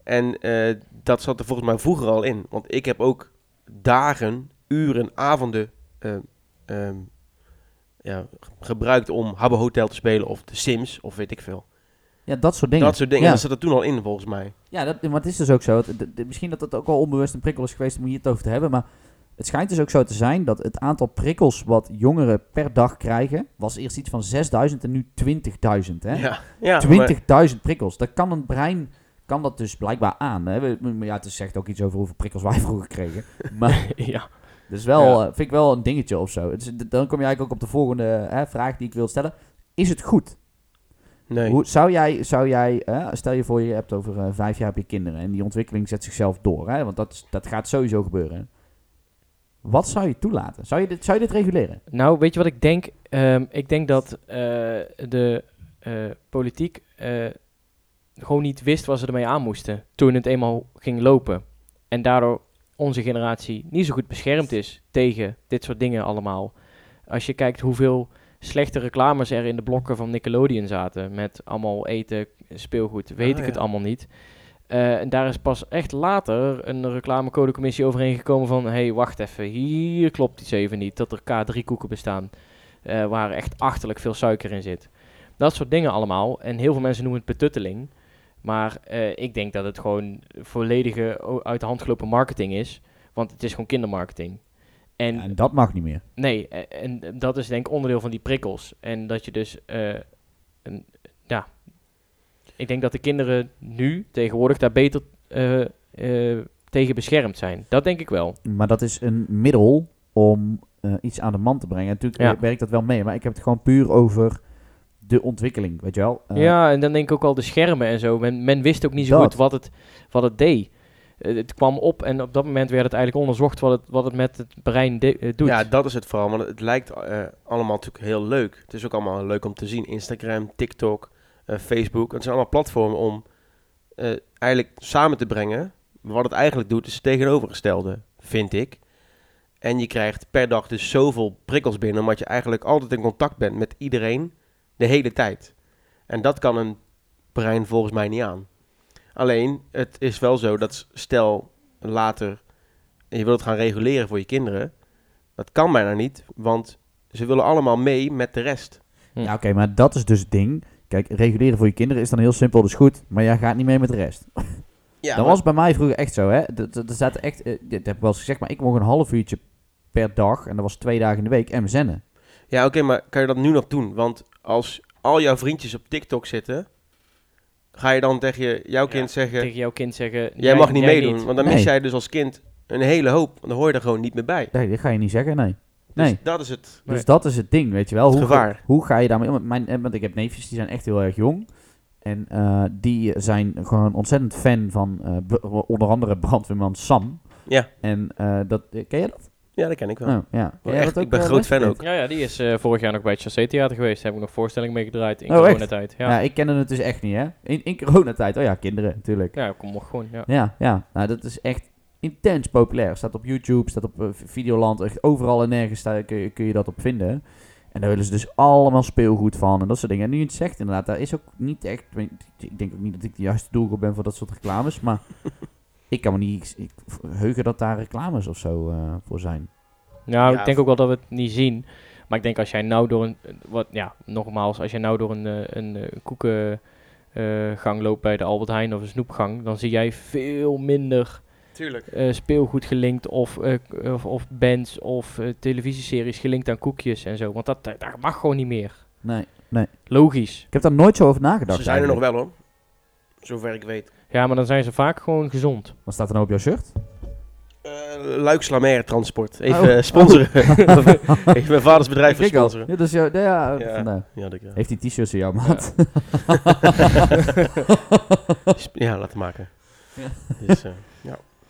En eh, dat zat er volgens mij vroeger al in. Want ik heb ook dagen, uren, avonden eh, ehm, ja, ge- gebruikt om Habbo Hotel te spelen of de Sims of weet ik veel.
Ja, dat soort dingen.
Dat soort dingen,
Ja,
dat zat er toen al in volgens mij.
dus ja dat, maar het is dus ook zo. Het- de- de- misschien dat dat ook al onbewust een prikkel is geweest om hier het over te hebben. Maar Het schijnt dus ook zo te zijn dat het aantal prikkels wat jongeren per dag krijgen, was eerst iets van 6000 en nu 20.000. Hè?
Ja, ja, maar-
20.000 prikkels. Dat kan een brein kan dat dus blijkbaar aan. Hè? We- Maar ja, het is- zegt ook iets over hoeveel prikkels wij vroeger kregen. Maar
ja.
dat is wel,
Ja.
eh, vind ik wel een dingetje of zo. Het is- dan kom je eigenlijk ook op de volgende hè, vraag die ik wil stellen. Is het goed?
nee.
Hoe, zou jij, zou jij hè, stel je voor je hebt over eh, vijf jaar heb je kinderen en die ontwikkeling zet zichzelf door. Hè? Want dat, is- dat gaat sowieso gebeuren. Wat zou je toelaten? Zou je dit, zou je dit reguleren?
Nou, weet je wat ik denk? Ehm, ik denk dat eh, de eh, politiek eh, gewoon niet wist waar ze ermee aan moesten toen het eenmaal ging lopen. En daardoor onze generatie niet zo goed beschermd is tegen dit soort dingen allemaal. Als je kijkt hoeveel slechte reclames er in de blokken van Nickelodeon zaten met allemaal eten, speelgoed, weet
Ah,
ik het
ja.
allemaal niet. Eh, en daar is pas echt later een reclamecodecommissie overheen gekomen van... hé, hey, wacht even, hier klopt iets even niet. Dat er K3-koeken bestaan eh, waar echt achterlijk veel suiker in zit. Dat soort dingen allemaal. En heel veel mensen noemen het betutteling. Maar eh, ik denk dat het gewoon volledige o- uit de hand gelopen marketing is. Want het is gewoon kindermarketing. En
En dat mag niet meer.
Nee, e- en dat is denk ik onderdeel van die prikkels. En dat je dus, eh, een, ja, ik denk dat de kinderen nu tegenwoordig daar beter eh, eh, tegen beschermd zijn. Dat denk ik wel.
Maar dat is een middel om eh, iets aan de man te brengen. Natuurlijk
Ja.
werkt dat wel mee, maar ik heb het gewoon puur over de ontwikkeling, weet je wel? Eh,
ja, en dan denk ik ook al de schermen en zo. Men, men wist ook niet zo
Dat.
goed wat het, wat het deed. Eh, het kwam op en op dat moment werd het eigenlijk onderzocht wat het, wat het met het brein de- eh, doet.
Ja, dat is het vooral. Want het lijkt eh, allemaal natuurlijk heel leuk. Het is ook allemaal leuk om te zien. Instagram, TikTok, eh, Facebook. Het zijn allemaal platformen om eh, eigenlijk samen te brengen. Maar wat het eigenlijk doet, is het tegenovergestelde, vind ik. En je krijgt per dag dus zoveel prikkels binnen, omdat je eigenlijk altijd in contact bent met iedereen de hele tijd. En dat kan een brein volgens mij niet aan. Alleen, het is wel zo dat s- stel later je wilt het gaan reguleren voor je kinderen, dat kan bijna niet, want ze willen allemaal mee met de rest.
Ja, oké, maar dat is dus het ding. Kijk, reguleren voor je kinderen is dan heel simpel, dus goed. Maar jij gaat niet mee met de rest.
Ja,
dat was bij mij vroeger echt zo, hè. Dat, dat, dat zaten echt, eh, dit heb ik wel eens gezegd, maar ik mocht een half uurtje per dag, en dat was twee dagen in de week, MSN'en.
ja oké, maar kan je dat nu nog doen? Want als al jouw vriendjes op TikTok zitten, ga je dan tegen je, jouw
Ja,
kind zeggen,
Tegen jouw kind zeggen...
jij mag niet meedoen.
niet.
Want dan
Nee.
mis jij dus als kind een hele hoop, want dan hoor je er gewoon niet meer bij.
Nee, dat ga je niet zeggen, nee.
Dus
Nee.
dat is het.
Nee.
Dus dat is het ding, weet je wel.
Het
Hoe,
gevaar.
hoe ga je daarmee om? Mijn, eh, want ik heb neefjes, die zijn echt heel erg jong. En eh, die zijn gewoon ontzettend fan van eh, b- onder andere brandweerman Sam.
Ja.
En eh, dat, eh, ken je dat?
Ja, dat ken ik wel.
Oh, ja. Ken jij
echt,
dat ook,
ik ben
eh,
groot fan
Wes?
ook.
Ja, ja, die is eh, vorig jaar nog bij het Chassé Theater geweest. Daar heb ik nog voorstelling mee gedraaid in
Oh, echt?
coronatijd. Ja.
Ja. ik kende het dus echt niet, hè? In, in coronatijd. Oh ja, kinderen, natuurlijk. Ja,
Ja, ik kom nog gewoon, ja.
ja. Nou, dat is echt intens populair. Staat op YouTube, staat op eh, Videoland. Echt overal en nergens sta- kun, je, kun je dat op vinden. En daar willen ze dus allemaal speelgoed van en dat soort dingen. En nu je het zegt, inderdaad, daar is ook niet echt... Ik denk ook niet dat ik de juiste doelgroep ben voor dat soort reclames, maar... Ik kan me niet ik, heugen dat daar reclames of zo eh, voor zijn.
Nou,
Ja,
ik denk ook wel dat we het niet zien. Maar ik denk als jij nou door een... Wat, ja, nogmaals, als jij nou door een, eh, een koekengang loopt bij de Albert Heijn of een snoepgang... dan zie jij veel minder
Tuurlijk.
eh, speelgoed gelinkt of, eh, k- of, of bands of eh, televisieseries gelinkt aan koekjes en zo. Want dat, dat, dat mag gewoon niet meer.
Nee.
Logisch.
Ik heb daar nooit zo over nagedacht.
Ze zijn er nog
eigenlijk.
wel hoor, zover ik weet.
Ja, maar dan zijn ze vaak gewoon gezond.
Wat staat er nou op jouw shirt?
Eh Luik Slamair Transport. Even
Oh.
eh, sponsoren. Even mijn vaders bedrijf
Kijk al.
sponsoren.
Ja, dus ja, ja,
Ja.
vandaar.
Ja, dat ik, eh,
Heeft die t-shirts in jouw maat?
sp- ja, laten maken. Dus, eh,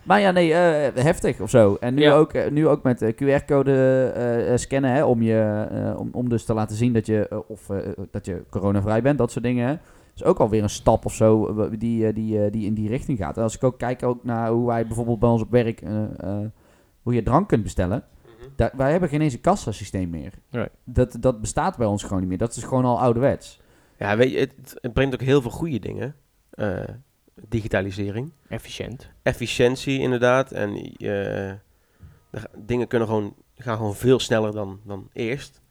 Maar ja, nee, eh, heftig of zo. En nu,
Ja.
ook, eh, nu ook met eh, QR-code eh, eh, scannen, hè, om, je, eh, om, om dus te laten zien dat je, eh, of, eh, dat je coronavrij bent, dat soort dingen. Hè. is ook alweer een stap of zo eh, die, eh, die, eh, die in die richting gaat. En als ik ook kijk ook naar hoe wij bijvoorbeeld bij ons op werk, eh, eh, hoe je drank kunt bestellen. Daar, wij hebben geen eens een kassasysteem meer.
Mhm. Nee.
Dat, dat bestaat bij ons gewoon niet meer. Dat is gewoon al ouderwets.
Ja, weet je, het, het brengt ook heel veel goede dingen. Eh, digitalisering.
Efficiënt.
Efficiëntie inderdaad. En eh, de ga- dingen kunnen gewoon, gaan gewoon veel sneller dan, dan eerst.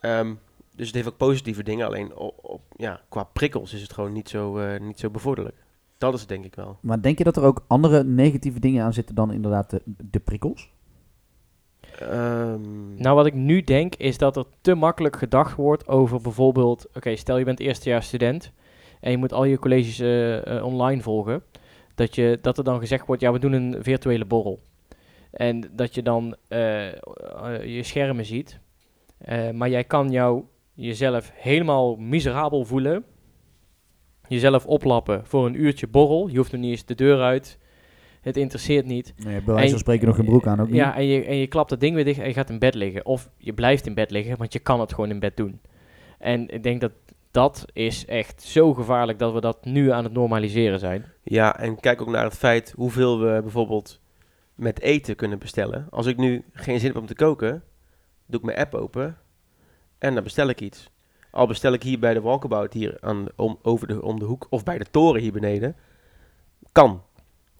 Ehm, dus het heeft ook positieve dingen. Alleen op, op- ja, qua prikkels is het gewoon niet zo, eh, niet zo bevorderlijk. Dat is het denk ik wel.
Maar denk je dat er ook andere negatieve dingen aan zitten dan inderdaad de, de prikkels?
Ehm,
Nou, wat ik nu denk is dat er te makkelijk gedacht wordt over bijvoorbeeld, oké, stel je bent eerstejaars student en je moet al je colleges eh, eh, online volgen, dat, je, dat er dan gezegd wordt, ja, we doen een virtuele borrel. En dat je dan eh, eh, je schermen ziet, eh, maar jij kan jou, jezelf helemaal miserabel voelen, jezelf oplappen voor een uurtje borrel, je hoeft nog niet eens de deur uit, het interesseert niet.
Nee, bij wijze van spreken nog geen broek aan ook niet.
Ja, en je, en je klapt dat ding weer dicht en je gaat in bed liggen. Of je blijft in bed liggen, want je kan het gewoon in bed doen. En ik denk dat dat is echt zo gevaarlijk dat we dat nu aan het normaliseren zijn.
Ja, en kijk ook naar het feit hoeveel we bijvoorbeeld met eten kunnen bestellen. Als ik nu geen zin heb om te koken, doe ik mijn app open en dan bestel ik iets. Al bestel ik hier bij de Walkabout hier aan, om, over de, om de hoek of bij de toren hier beneden, kan.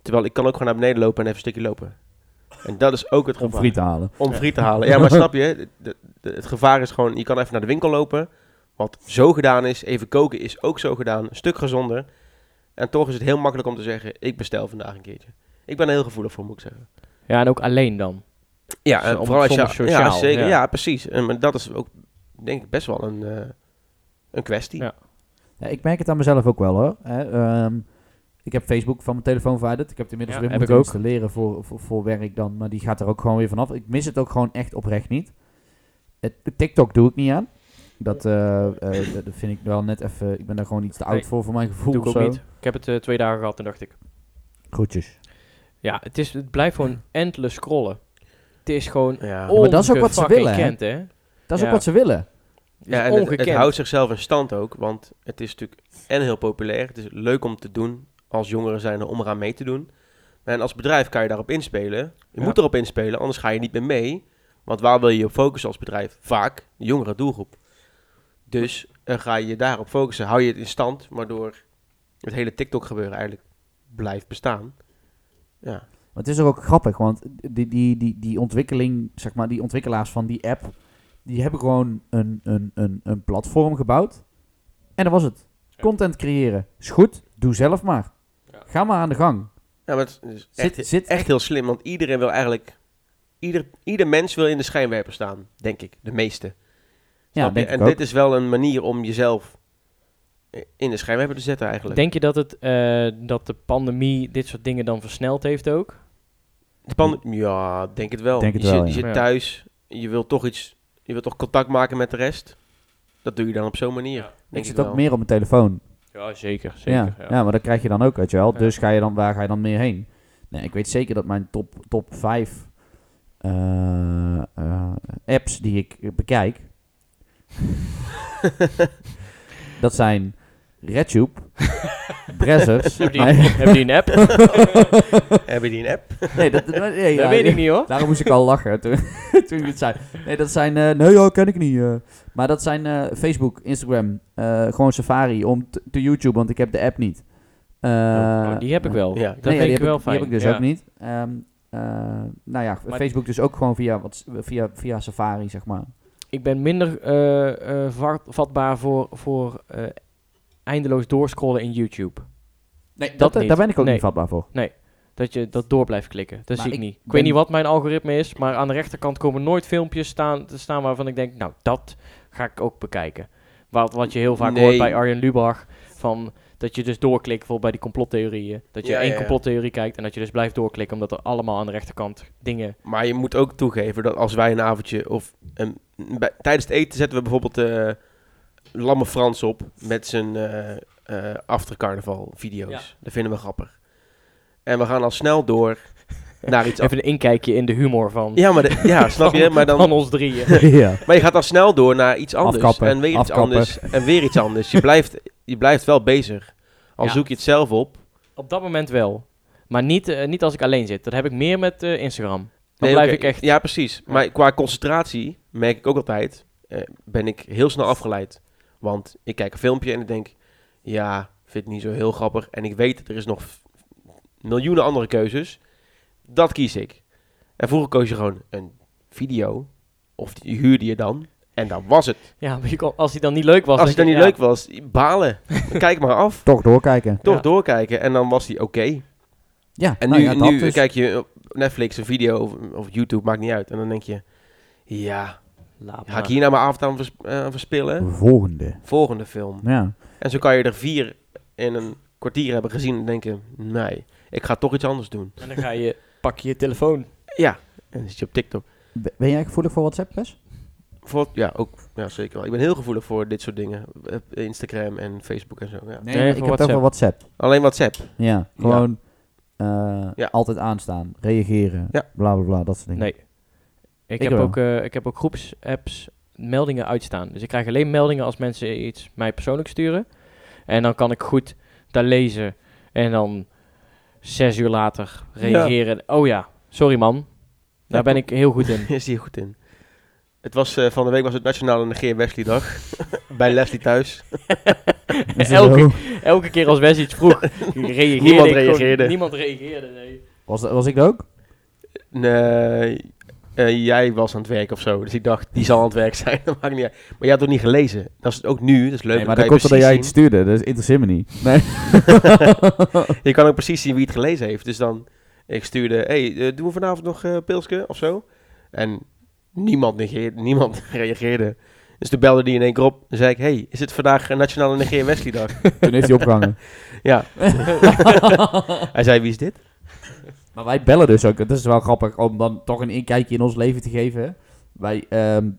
Terwijl ik kan ook gewoon naar beneden lopen en even een stukje lopen. En dat is ook het
Om
gevaar.
friet te halen.
Om friet te halen. Ja, maar snap je? de- de- de- het gevaar is gewoon, je kan even naar de winkel lopen. Wat zo gedaan is, even koken is ook zo gedaan. Een stuk gezonder. En toch is het heel makkelijk om te zeggen, ik bestel vandaag een keertje. Ik ben er heel gevoelig voor, moet ik zeggen.
Ja, en ook alleen dan.
Ja,
Zo,
en
om-
vooral als je...
soms sociaal,
ja, zeker.
ja.
Ja, precies. En, maar dat is ook, denk ik, best wel een, eh, een kwestie.
Ja.
Ja, ik merk het aan mezelf ook wel hoor. Hè, ehm, ik heb Facebook van mijn telefoon verwijderd. Ik heb het inmiddels
Ja,
weer
heb
moeten
ik ook.
installeren voor, voor, voor werk dan. Maar die gaat er ook gewoon weer vanaf. Ik mis het ook gewoon echt oprecht niet. Het, TikTok doe ik niet aan. Dat, eh, eh, dat dat vind ik wel net even... Ik ben daar gewoon iets te oud
Nee,
voor, voor mijn gevoel.
Doe ik
of
ook
zo.
niet. Ik heb het eh, twee dagen gehad en dacht ik...
Groetjes.
Ja, het, is, het blijft gewoon endless scrollen. Het is gewoon
Ja.
maar dat is ook wat ze willen, hè?
ongekend, hè? Het
Dat is
Ja.
ook wat ze willen.
is
Ja, en het- het,
ongekend.
houdt zichzelf in stand ook, want het is natuurlijk en heel populair. Het is leuk om te doen als jongeren zijn om eraan mee te doen. En als bedrijf kan je daarop inspelen. Je
Ja.
moet erop inspelen, anders ga je niet meer mee. Want waar wil je je op focussen als bedrijf? Vaak de jongere doelgroep. Dus eh, ga je je daarop focussen. Hou je het in stand, waardoor het hele TikTok gebeuren eigenlijk blijft bestaan. Ja,
Maar het is toch ook grappig, want die, die, die, die ontwikkeling, zeg maar, die ontwikkelaars van die app, die hebben gewoon een, een, een, een platform gebouwd. En dat was het. Content creëren. Is goed, doe zelf maar.
Ja.
Ga maar aan de gang.
ja maar het is
Zit-
echt,
zit-
echt heel slim, want iedereen wil eigenlijk... Ieder, ieder mens wil in de schijnwerper staan, denk ik. De meeste.
Ja,
Snap je?
denk ik
en
ook.
dit is wel een manier om jezelf in de schijnwerper te zetten eigenlijk.
Denk je dat, het, eh, dat de pandemie dit soort dingen dan versneld heeft ook?
De pan- ja, denk het wel.
Denk het
je
wel,
zit,
ja.
Ja.
je zit thuis, je wilt toch iets, je wilt toch contact maken met de rest. Dat doe je dan op zo'n manier. Denk
ik zit
wel.
ook meer op mijn telefoon.
Ja, zeker.
ja. Ja. maar dat krijg je dan ook, weet je wel.
Ja.
Dus ga je dan, waar ga je dan meer heen? Nee, ik weet zeker dat mijn top, top 5 apps die ik eh, bekijk, dat zijn RedTube, Brazzers.
Heb die, heb die een app?
Heb je die een app?
Nee, dat, dat- nee, ja,
dat weet ik niet hoor.
Daarom moest ik al lachen toen, toen je het zei. Nee, dat zijn... eh, nee, ja, ken ik niet. eh. Maar dat zijn eh, Facebook, Instagram, eh, gewoon Safari, om t- te YouTube, want ik heb de app niet. Eh,
Oh, die heb ik wel.
Ja.
Dat
nee, ja,
vind
die
ik
heb
wel
Die
fijn.
heb ik dus
Ja.
ook niet. Ehm, eh, nou ja,
Maar-
Facebook dus ook gewoon via, wat, via, via Safari, zeg maar.
Ik ben minder eh, eh, va- vatbaar voor, voor eh, eindeloos doorscrollen in YouTube.
Nee, dat,
dat niet.
daar ben ik ook
Nee.
niet vatbaar voor.
Dat je dat door blijft klikken. Dat
Maar
zie ik
ik
niet. Ik
ben-
weet niet wat mijn algoritme is, maar aan de rechterkant komen nooit filmpjes staan, te staan waarvan ik denk, nou, dat ga ik ook bekijken. Wat, wat je heel vaak
Nee.
hoort bij Arjen Lubach, van dat je dus doorklikt bijvoorbeeld bij die complottheorieën. Dat je
Ja,
één
ja, ja.
complottheorie kijkt en dat je dus blijft doorklikken, omdat er allemaal aan de rechterkant dingen...
Maar je moet ook toegeven dat als wij een avondje of een, bij- tijdens het eten zetten we bijvoorbeeld eh, Lamme Frans op met zijn eh eh aftercarnaval video's.
Ja.
Dat vinden we grappig. En we gaan al snel door naar iets
Even een inkijkje in de humor van,
Ja, maar de- ja, snap je?
van,
Maar,
van
dan,
ons drieën.
ja.
maar je gaat dan snel door naar iets anders.
Afkappen,
en weer iets
afkappen.
anders. En weer iets anders. Je blijft, je blijft wel bezig. Al
Ja.
zoek je het zelf op.
Op dat moment wel. Maar niet, eh, niet als ik alleen zit. Dat heb ik meer met eh, Instagram. Dan
Nee,
blijf
oké,
ik echt...
Ja, precies. Maar qua concentratie merk ik ook altijd... eh, ben ik heel snel afgeleid. Want ik kijk een filmpje en ik denk... Ja, vind het niet zo heel grappig. En ik weet, er is nog f- miljoenen andere keuzes. Dat kies ik. En vroeger koos je gewoon een video. Of die huurde je dan. En dat was het.
Ja, maar je kon- als hij dan niet leuk was...
Als het dan
denk
niet
je,
leuk was, balen. Kijk maar af.
Toch doorkijken.
Toch
Ja.
doorkijken. En dan was hij oké.
Ja,
En
nou
nu,
ja, dat
nu
dus.
kijk je op, Netflix een video of, of YouTube, maakt niet uit. En dan denk je, ja,
Laat
ga ik
maar.
hier nou mijn avond aan vers- eh, aan verspillen?
Volgende. Nou
Volgende film.
Ja.
En zo kan je er vier in een kwartier hebben gezien en denken, nee, ik ga toch iets anders doen.
En dan ga je, pak je je telefoon.
Ja, en dan zit je op TikTok.
Ben ben jij gevoelig voor WhatsApp, Bes?
Voor, ja, ook, ja, zeker wel. Ik ben heel gevoelig voor dit soort dingen. Eh, Instagram en Facebook en zo, ja.
Nee, maar
ik
voor
heb het over WhatsApp.
Alleen WhatsApp.
Ja, gewoon eh,
Ja.
altijd aanstaan, reageren,
Ja.
bla bla bla, dat soort dingen.
Nee. Ik,
Ik
heb,
wel.
ook, eh, ik heb ook groepsapps meldingen uitstaan. Dus ik krijg alleen meldingen als mensen iets mij persoonlijk sturen. En dan kan ik goed daar lezen. En dan zes uur later reageren. Oh ja, sorry man. Daar ben ik heel goed in.
Daar is hij goed in. Het was, eh, van de week was het Nationale Negeer Wesley dag. Bij Leslie thuis.
Is dat
Elke,
Dus zo?
elke keer als Wes iets vroeg, reageerde
Niemand
ik gewoon-
reageerde.
niemand reageerde, nee.
Was, dat- was ik dat ook?
Nee, eh, jij was aan het werk of zo. Dus ik dacht, die zal aan het werk zijn. Dat maakt niet uit. Maar jij had het ook niet gelezen. Dat is het ook nu. Dat is leuk.
Nee, maar
dan
dat
kan
komt
je,
omdat
precies
jij iets
zien-
stuurde, dus interesseert me niet. Nee.
je kan ook precies zien wie het gelezen heeft. Dus dan, ik stuurde, hey, eh, doen we vanavond nog eh pilske of zo? En niemand negeerde, niemand reageerde. Dus toen belde die in één keer op. en zei ik, hey, is het vandaag eh, Nationale Negeer Wesley dag?
Toen heeft hij opgehangen.
ja. Hij zei, wie is dit?
Maar wij bellen dus ook. Dat is wel grappig om dan toch een inkijkje in ons leven te geven. Wij, ehm,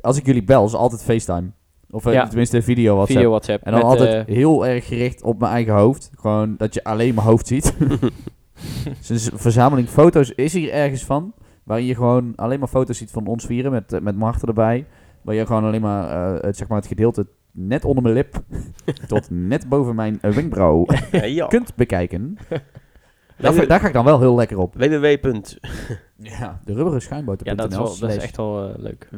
als ik jullie bel, is altijd FaceTime. Of eh,
Ja.
tenminste video WhatsApp.
Video WhatsApp.
En dan
met,
altijd
eh,
heel erg gericht op mijn eigen hoofd. Gewoon dat je alleen mijn hoofd ziet. dus een verzameling foto's is hier ergens van. Waarin je gewoon alleen maar foto's ziet van ons vieren met, eh, met Marten erbij. Waar je gewoon alleen maar, eh, het, zeg maar het gedeelte net onder mijn lip tot net boven mijn eh, wenkbrauw
Ja, ja.
kunt bekijken. Daar,
Weet je-
daar ga ik dan wel heel lekker op.
www.wenkbrauw.
Ja, de rubberen schuimboter.nl.
ja, dat is, wel, dat is
slash-
echt wel eh, leuk.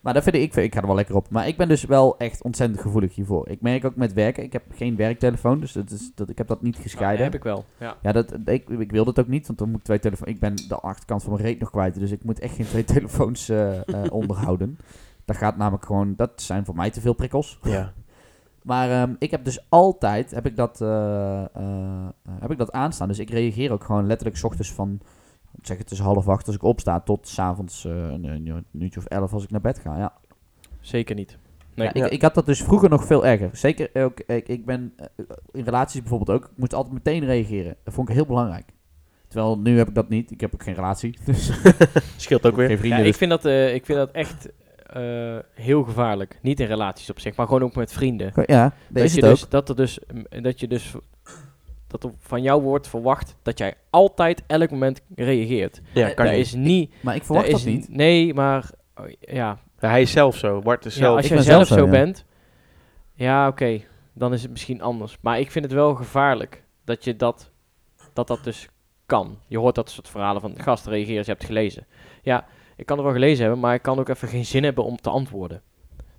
Maar dat vind ik, ik ga er wel lekker op. Maar ik ben dus wel echt ontzettend gevoelig hiervoor. Ik merk ook met werken, ik heb geen werktelefoon, dus dat is, dat, ik heb dat niet
Dat
gescheiden.
Oh, heb ik wel. Ja.
Ja, dat, ik, ik wil dat ook niet, want dan moet ik twee telefoons... Ik ben de achterkant van mijn reet nog kwijt, dus ik moet echt geen twee telefoons eh, eh, onderhouden. Dat gaat namelijk gewoon... Dat zijn voor mij te veel prikkels.
Ja.
Maar ehm, ik heb dus altijd heb ik dat, eh, eh, heb ik dat aanstaan. Dus ik reageer ook gewoon letterlijk 's ochtends van, ik zeg het is half acht als ik opsta, tot s'avonds eh een, een uurtje of elf als ik naar bed ga. Ja.
Zeker niet. Nee.
Ja, ik, ik had dat dus vroeger nog veel erger. Zeker ook, ik, ik ben eh, in relaties bijvoorbeeld ook, ik moest altijd meteen reageren. Dat vond ik heel belangrijk. Terwijl nu heb ik dat niet. Ik heb ook geen relatie. Dus
Scheelt ook weer.
geen vrienden.
Ja, ik,
dus-
vind dat, eh, ik vind dat echt eh, heel gevaarlijk. Niet in relaties op zich, maar gewoon ook met vrienden.
dus- ja, dat, is
je
het ook.
dus, dat, er dus, mm, dat je dus dat er van jou wordt verwacht dat jij altijd elk moment reageert.
Ja, kan
Daar
niet.
is niet.
Maar ik
daar
verwacht dat
is
niet.
Nee, maar oh, ja,
Ja, hij is zelf zo. Bart is
ja
zelf.
als
Ik
jij
ben
zelf
zelf
zo,
zo, ja.
bent, ja, oké, dan is het misschien anders. Maar ik vind het wel gevaarlijk dat je dat, dat, dat dus kan. Je hoort dat soort verhalen van gast reageer, je hebt gelezen. Ja, ik kan het wel gelezen hebben, maar ik kan ook even geen zin hebben om te antwoorden.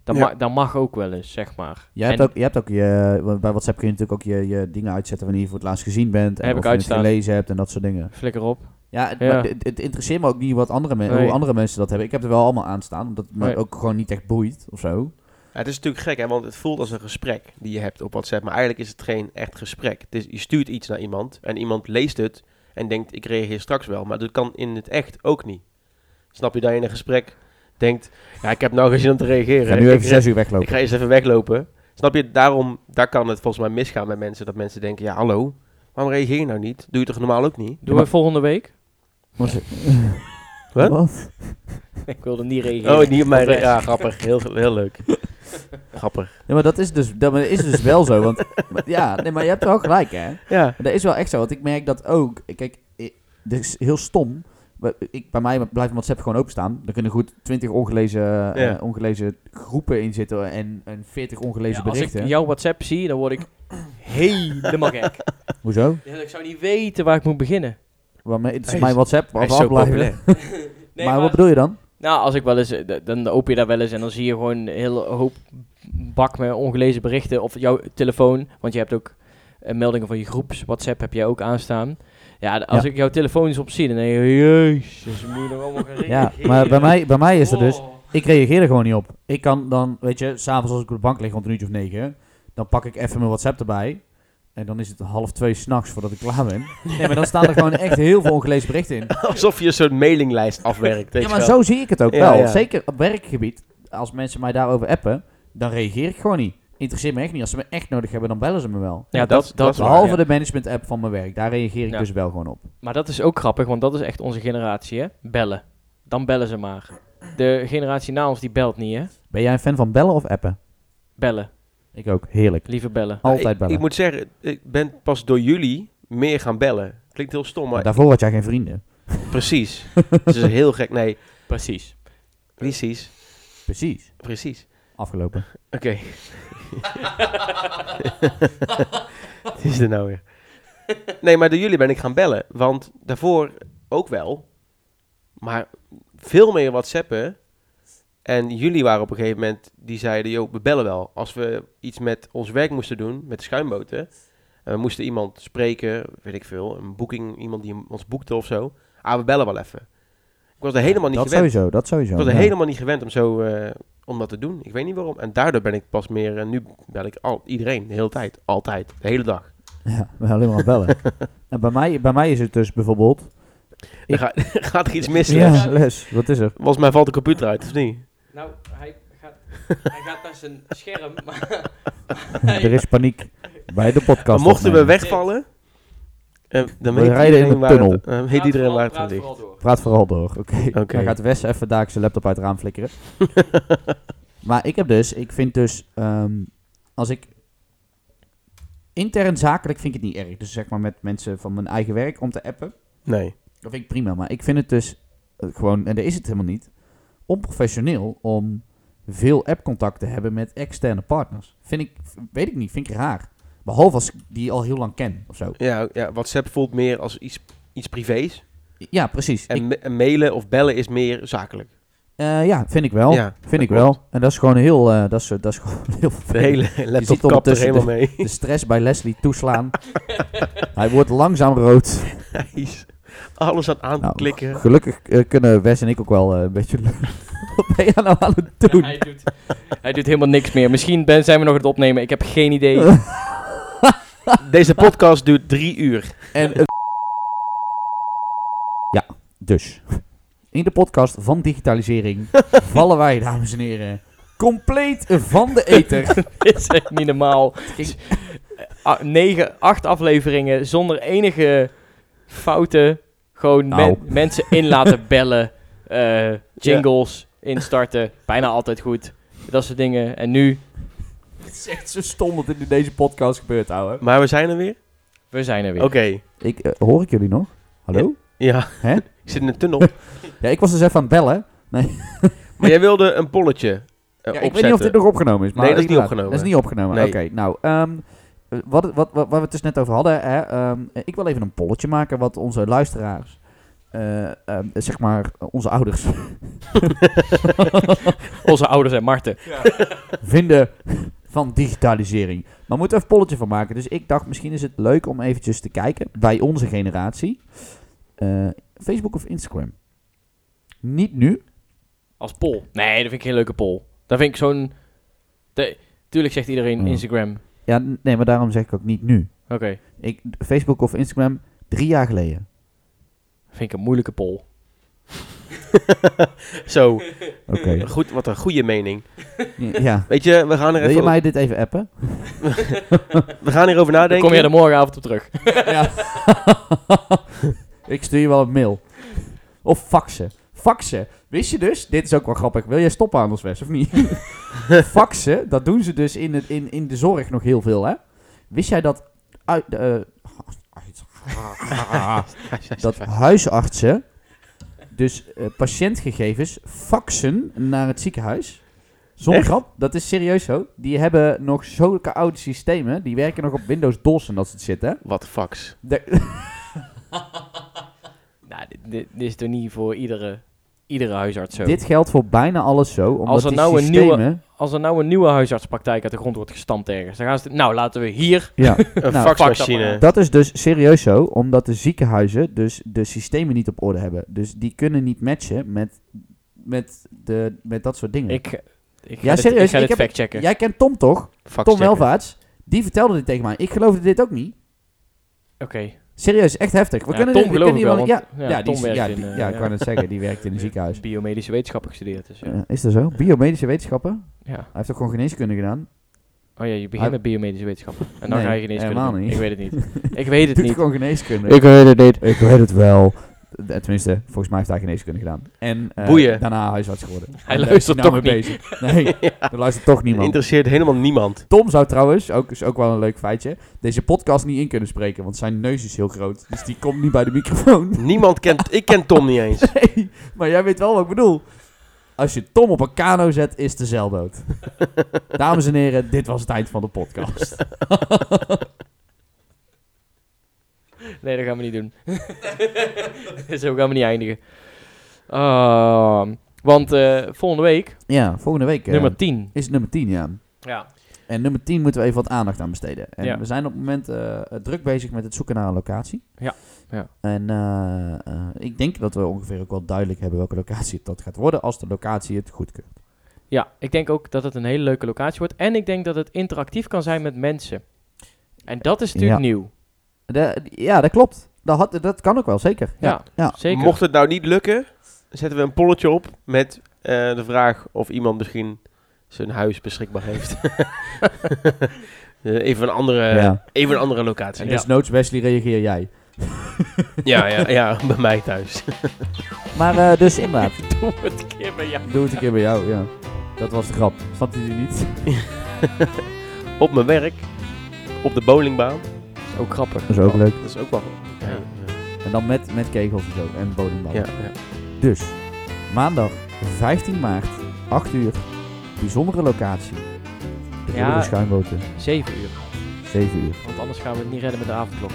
Dat,
Ja.
ma- dat mag ook wel eens, zeg maar.
Jij hebt,
En-
ook, jij hebt ook je, want bij WhatsApp kun je natuurlijk ook je, je dingen uitzetten wanneer je voor het laatst gezien bent. En
Heb
of
ik
je het
uitstaan.
gelezen hebt en dat soort dingen.
Flikker op.
Ja, het,
Ja.
maar het, het interesseert me ook niet wat andere men-
Nee.
hoe andere mensen dat hebben. Ik heb er wel allemaal aan staan, omdat het me
Nee.
ook gewoon niet echt boeit of zo.
Ja, het is natuurlijk gek, hè, want het voelt als een gesprek die je hebt op WhatsApp. Maar eigenlijk is het geen echt gesprek. Het is, je stuurt iets naar iemand en iemand leest het en denkt, ik reageer straks wel. Maar dat kan in het echt ook niet. Snap je dat je in een gesprek denkt, ja, ik heb nou geen zin om te reageren.
Ik ga nu
Ik
even
re-
zes uur
Ik
weglopen.
ga eerst even weglopen. Snap je, daarom, daar kan het volgens mij misgaan met mensen. Dat mensen denken, ja, hallo, waarom reageer je nou niet? Doe je toch normaal ook niet?
Doen
maar-
we volgende week?
Wat?
Wat?
Ik wilde niet reageren.
Oh, niet op mijn...
Of
re-
echt.
Ja, grappig. Heel, heel leuk. grappig.
Ja, maar dat is dus, dat is dus wel zo. Want maar- ja, nee, maar je hebt wel gelijk, hè?
Ja.
Maar Dat is wel echt zo, want ik merk dat ook. Kijk, i- dit is heel stom. maar Ik, bij mij blijft WhatsApp gewoon openstaan. Er kunnen goed 20 ongelezen, eh,
Ja.
ongelezen groepen in zitten en, en 40 ongelezen
Ja, als ik
berichten.
jouw WhatsApp zie, dan word ik helemaal gek.
Hoezo?
Dus ik zou niet weten waar ik moet beginnen.
Want mijn- het is
Hij is-
mijn WhatsApp,
Hij
maar
is zo
afblijven.
populair.
Nee,
maar wat bedoel je dan?
Nou, als ik wel eens, eh, d- dan open je daar wel eens en dan zie je gewoon een hele hoop bak met ongelezen berichten of jouw telefoon, want je hebt ook eh, meldingen van je groeps, WhatsApp heb jij ook aanstaan. Ja, d- als
Ja.
ik jouw telefoon eens op zie, dan denk je, jezus, moet je nog allemaal gaan
Ja,
reageren.
maar bij mij, bij mij is er dus...
Oh.
Ik reageer er gewoon niet op. Ik kan dan, weet je, s'avonds als ik op de bank lig rond een uurtje of negen... dan pak ik even mijn WhatsApp erbij. En dan is het half twee s'nachts voordat ik klaar ben. Nee, maar dan staan er gewoon echt heel veel ongelezen berichten in.
Alsof je zo'n mailinglijst afwerkt. weet
Ja,
je
maar
wel.
zo zie ik het ook
Ja,
wel.
ja.
Zeker op werkgebied. Als mensen mij daarover appen, dan reageer ik gewoon niet. Interesseert me echt niet. Als ze me echt nodig hebben, dan bellen ze me wel.
Ja,
Ja,
dat,
dat-
dat,
dat is waar.
Behalve
ja.
de management-app van mijn werk. Daar reageer ik
Ja.
dus wel gewoon op.
Maar dat is ook grappig, want dat is echt onze generatie, hè? Bellen. Dan bellen ze maar. De generatie na ons die belt niet, hè?
Ben jij een fan van bellen of appen?
Bellen.
Ik ook. Heerlijk.
Liever bellen.
Nou,
Altijd
ik-
bellen.
Ik, moet zeggen, ik ben pas door jullie meer gaan bellen. Klinkt heel stom, maar
Maar daarvoor had jij geen vrienden.
precies. Het is heel gek. Nee,
Precies.
precies.
Precies.
Precies.
Afgelopen.
Oké. Wat is dit nou weer? Nee, maar door jullie ben ik gaan bellen. Want daarvoor ook wel. Maar veel meer WhatsAppen. En jullie waren op een gegeven moment, die zeiden, joh, we bellen wel. Als we iets met ons werk moesten doen, met de schuimboten. En we moesten iemand spreken, weet ik veel, een boeking, iemand die ons boekte of zo. Ah, we bellen wel even. Ik was er helemaal niet
dat
gewend.
sowieso, dat sowieso.
Ik was er
Ja.
helemaal niet gewend om zo eh, om dat te doen. Ik weet niet waarom. En daardoor ben ik pas meer. en nu bel ik al iedereen de hele tijd. Altijd. De hele dag.
Ja, we gaan alleen maar bellen. en bij mij, bij mij is het dus bijvoorbeeld...
Dan ga- gaat er iets mis.
Ja,
Les?
les. Wat is er?
Volgens mij valt de computer uit, of niet?
Nou, hij gaat, hij gaat naar zijn scherm. Maar
er is paniek bij de podcast.
Maar mochten we
opnemen.
wegvallen. eh, dan
We
weet
rijden in
iedereen
een
waar het-
tunnel.
eh, weet iedereen waar het aan ligt.
Praat vooral door. Oké.
Oké.
Dan gaat Wes even daar zijn laptop uit het raam flikkeren. maar ik heb dus, ik vind dus, ehm, als ik intern zakelijk vind ik het niet erg. Dus zeg maar met mensen van mijn eigen werk om te appen.
Nee.
Dat vind ik prima. Maar ik vind het dus eh, gewoon, en daar is het helemaal niet, onprofessioneel om veel appcontact te hebben met externe partners. Vind ik, weet ik niet, vind ik raar. Behalve als ik die al heel lang ken of zo.
Ja, ja, WhatsApp voelt meer als iets, iets privés.
Ja, precies.
En,
Ik-
ma- en mailen of bellen is meer zakelijk.
eh, ja, vind ik wel.
ja,
Vind ik
klopt.
wel. En dat is gewoon heel, eh, dat, is, dat is gewoon heel
De
vervelend.
hele laptop
ziet
kapt er
ondertussen
helemaal mee.
De stress bij Leslie toeslaan. Hij wordt langzaam rood.
Hij is Alles aan aan
Nou,
klikken.
Gelukkig eh, kunnen Wes en ik ook wel eh, een beetje... Wat ben jij nou aan het doen?
hij, doet, hij doet helemaal niks meer. Misschien ben, zijn we nog aan het opnemen. Ik heb geen idee.
Deze podcast duurt drie uur.
En het- Ja, dus. In de podcast van digitalisering vallen wij, dames en heren, compleet van de eter.
Dit is echt niet normaal.
ging-
Ah, Negen, acht afleveringen zonder enige fouten. Gewoon men-
Nou.
mensen in laten bellen. eh, jingles instarten. Bijna altijd goed. Dat soort dingen. En nu,
Het is echt zo stom wat in deze podcast gebeurt, ouwe.
Maar we zijn er weer.
we zijn er weer.
Oké.
Ik, eh, hoor ik jullie nog? Hallo?
Ja.
Hè?
Ik zit in een tunnel.
Ja. ik was dus even aan het bellen.
maar jij wilde een polletje eh,
Ja,
opzetten.
ik weet niet of dit nog opgenomen is. Maar
Nee, dat is niet
inderdaad,
opgenomen.
Dat is niet opgenomen.
Nee.
Oké, nou, ehm, wat, wat, wat, waar we het dus net over hadden. Hè, ehm, ik wil even een polletje maken wat onze luisteraars, eh, ehm, zeg maar onze ouders,
Onze ouders en Marten.
vinden van digitalisering. Maar we moeten even een polletje van maken. Dus ik dacht, misschien is het leuk om eventjes te kijken bij onze generatie. Eh, Facebook of Instagram? Niet nu.
Als pol. Nee, dat vind ik geen leuke pol. Dat vind ik zo'n... de- Tuurlijk zegt iedereen
Ja.
Instagram.
Ja, n- nee, maar daarom zeg ik ook niet nu.
Oké.
Ik, Facebook of Instagram, drie jaar geleden.
Vind ik een moeilijke pol.
Zo,
Oké.
goed, wat een goede mening.
Ja.
Weet je, we gaan, er
Wil je
even,
mij dit even appen?
we gaan hierover
Dan
nadenken.
kom je er morgenavond op terug.
Ja. ik stuur je wel een mail. Of faxen. Faxen. Wist je dus, dit is ook wel grappig. Wil jij stoppen aan ons Wes, of niet? faxen, dat doen ze dus in, het, in, in de zorg nog heel veel, hè? Wist jij dat... Uit, eh, dat huisartsen dus eh, patiëntgegevens faxen naar het ziekenhuis. Zonder
Echt?
grap, dat is serieus zo. Die hebben nog zulke oude systemen. Die werken nog op Windows DOS en dat soort shit, hè?
Wat fax.
De-
Nou, dit, dit- dit is toch niet voor iedere, iedere huisarts zo.
dit geldt voor bijna alles zo. Omdat
Als er
die
nou een nieuwe-
systemen...
Als er nou een nieuwe huisartspraktijk uit de grond wordt gestampt ergens, dan gaan ze... Nou, laten we hier...
Ja,
Een
Nou,
faxmachine.
dat is dus serieus zo. Omdat de ziekenhuizen dus de systemen niet op orde hebben. Dus die kunnen niet matchen met, met, de, met dat soort dingen.
Ik, ik ga
Hmm. Ja,
dit,
serieus,
ik ga
ik
dit
heb-
factchecken.
Jij kent Tom toch?
Fax
Tom
checken.
Welvaarts. Die vertelde dit tegen mij. Ik geloofde dit ook niet.
Oké.
Hier is echt heftig. We
Ja,
kunnen
Tom
dit- we
geloof
kunnen
ik wel,
iemand-
want-
ja,
ja,
ja, die
Tom
is-
werkt
ja,
in,
die-
eh,
ja, ik
ja.
kan het zeggen. Die werkt in een ziekenhuis.
Biomedische wetenschapper gestudeerd, dus ja.
Ja, is dat zo? Biomedische wetenschappen? Hij
Ja.
heeft toch gewoon geneeskunde gedaan?
Oh ja, je begint
Hij-
met biomedische wetenschappen. En dan
Nee,
ga je geneeskunde
helemaal
doen.
niet.
Ik weet het niet. Ik weet het
Doet
niet.
gewoon geneeskunde.
Ik weet het niet.
Ik weet het wel. Eh, Tenminste, volgens mij heeft hij geneeskunde gedaan. En eh,
Boeien.
daarna huisarts geworden. En daar
luistert
is hij
toch
nou mee Bezig. Nee, er luistert toch niemand.
Interesseert helemaal niemand.
Tom zou trouwens, ook, is ook wel een leuk feitje, deze podcast niet in kunnen spreken, want zijn neus is heel groot. Dus die komt niet bij de microfoon.
Niemand kent... Ik ken Tom niet eens.
Nee, maar jij weet wel wat ik bedoel. Als je Tom op een kano zet, is de zeilboot. Dames en heren, dit was het eind van de podcast.
Nee, dat gaan we niet doen. Zo gaan we niet eindigen. Ehm, want eh, volgende week,
Ja, volgende week eh,
nummer 10.
is het nummer 10, ja.
Ja.
En nummer 10 moeten we even wat aandacht aan besteden. En
Ja.
we zijn op het moment eh, druk bezig met het zoeken naar een locatie.
Ja, ja.
En eh, eh, ik denk dat we ongeveer ook wel duidelijk hebben welke locatie het dat gaat worden als de locatie het goedkeurt.
ja, ik denk ook dat het een hele leuke locatie wordt. En ik denk dat het interactief kan zijn met mensen. En dat is natuurlijk
Ja.
nieuw.
De- ja, dat klopt. Dat, had, dat kan ook wel, zeker.
Ja,
ja.
zeker.
Mocht het nou niet lukken, zetten we een polletje op met eh, de vraag of iemand misschien zijn huis beschikbaar heeft. Eh, even, een andere,
Ja.
even een andere locatie.
En
Ja,
dus noods, Wesley, reageer jij.
ja, ja, bij mij thuis.
Maar eh, dus inderdaad,
Doe het een keer bij jou.
doe het een keer bij jou. Ja. Dat was de grap. Snapte je die niet?
op mijn werk, op de bowlingbaan.
Dat is ook grappig.
Dat is ook leuk.
Dat is ook wel... Ja, ja,
En dan met, met kegels en zo. En bodembal.
ja, ja.
Dus, maandag 15 maart, 8 uur, bijzondere locatie. De
Ja.
ja. schuimboten,
7 uur.
7 uur.
Want anders gaan we het niet redden met de avondklok.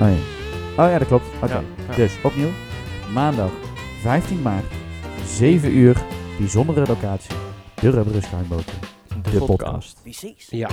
Oh ja, oh, ja dat klopt. Oké,
Ja, ja.
dus opnieuw. Maandag 15 maart, 7 uur, bijzondere locatie. De rubberen schuimboten, de, podcast.
Wie sees?
ja.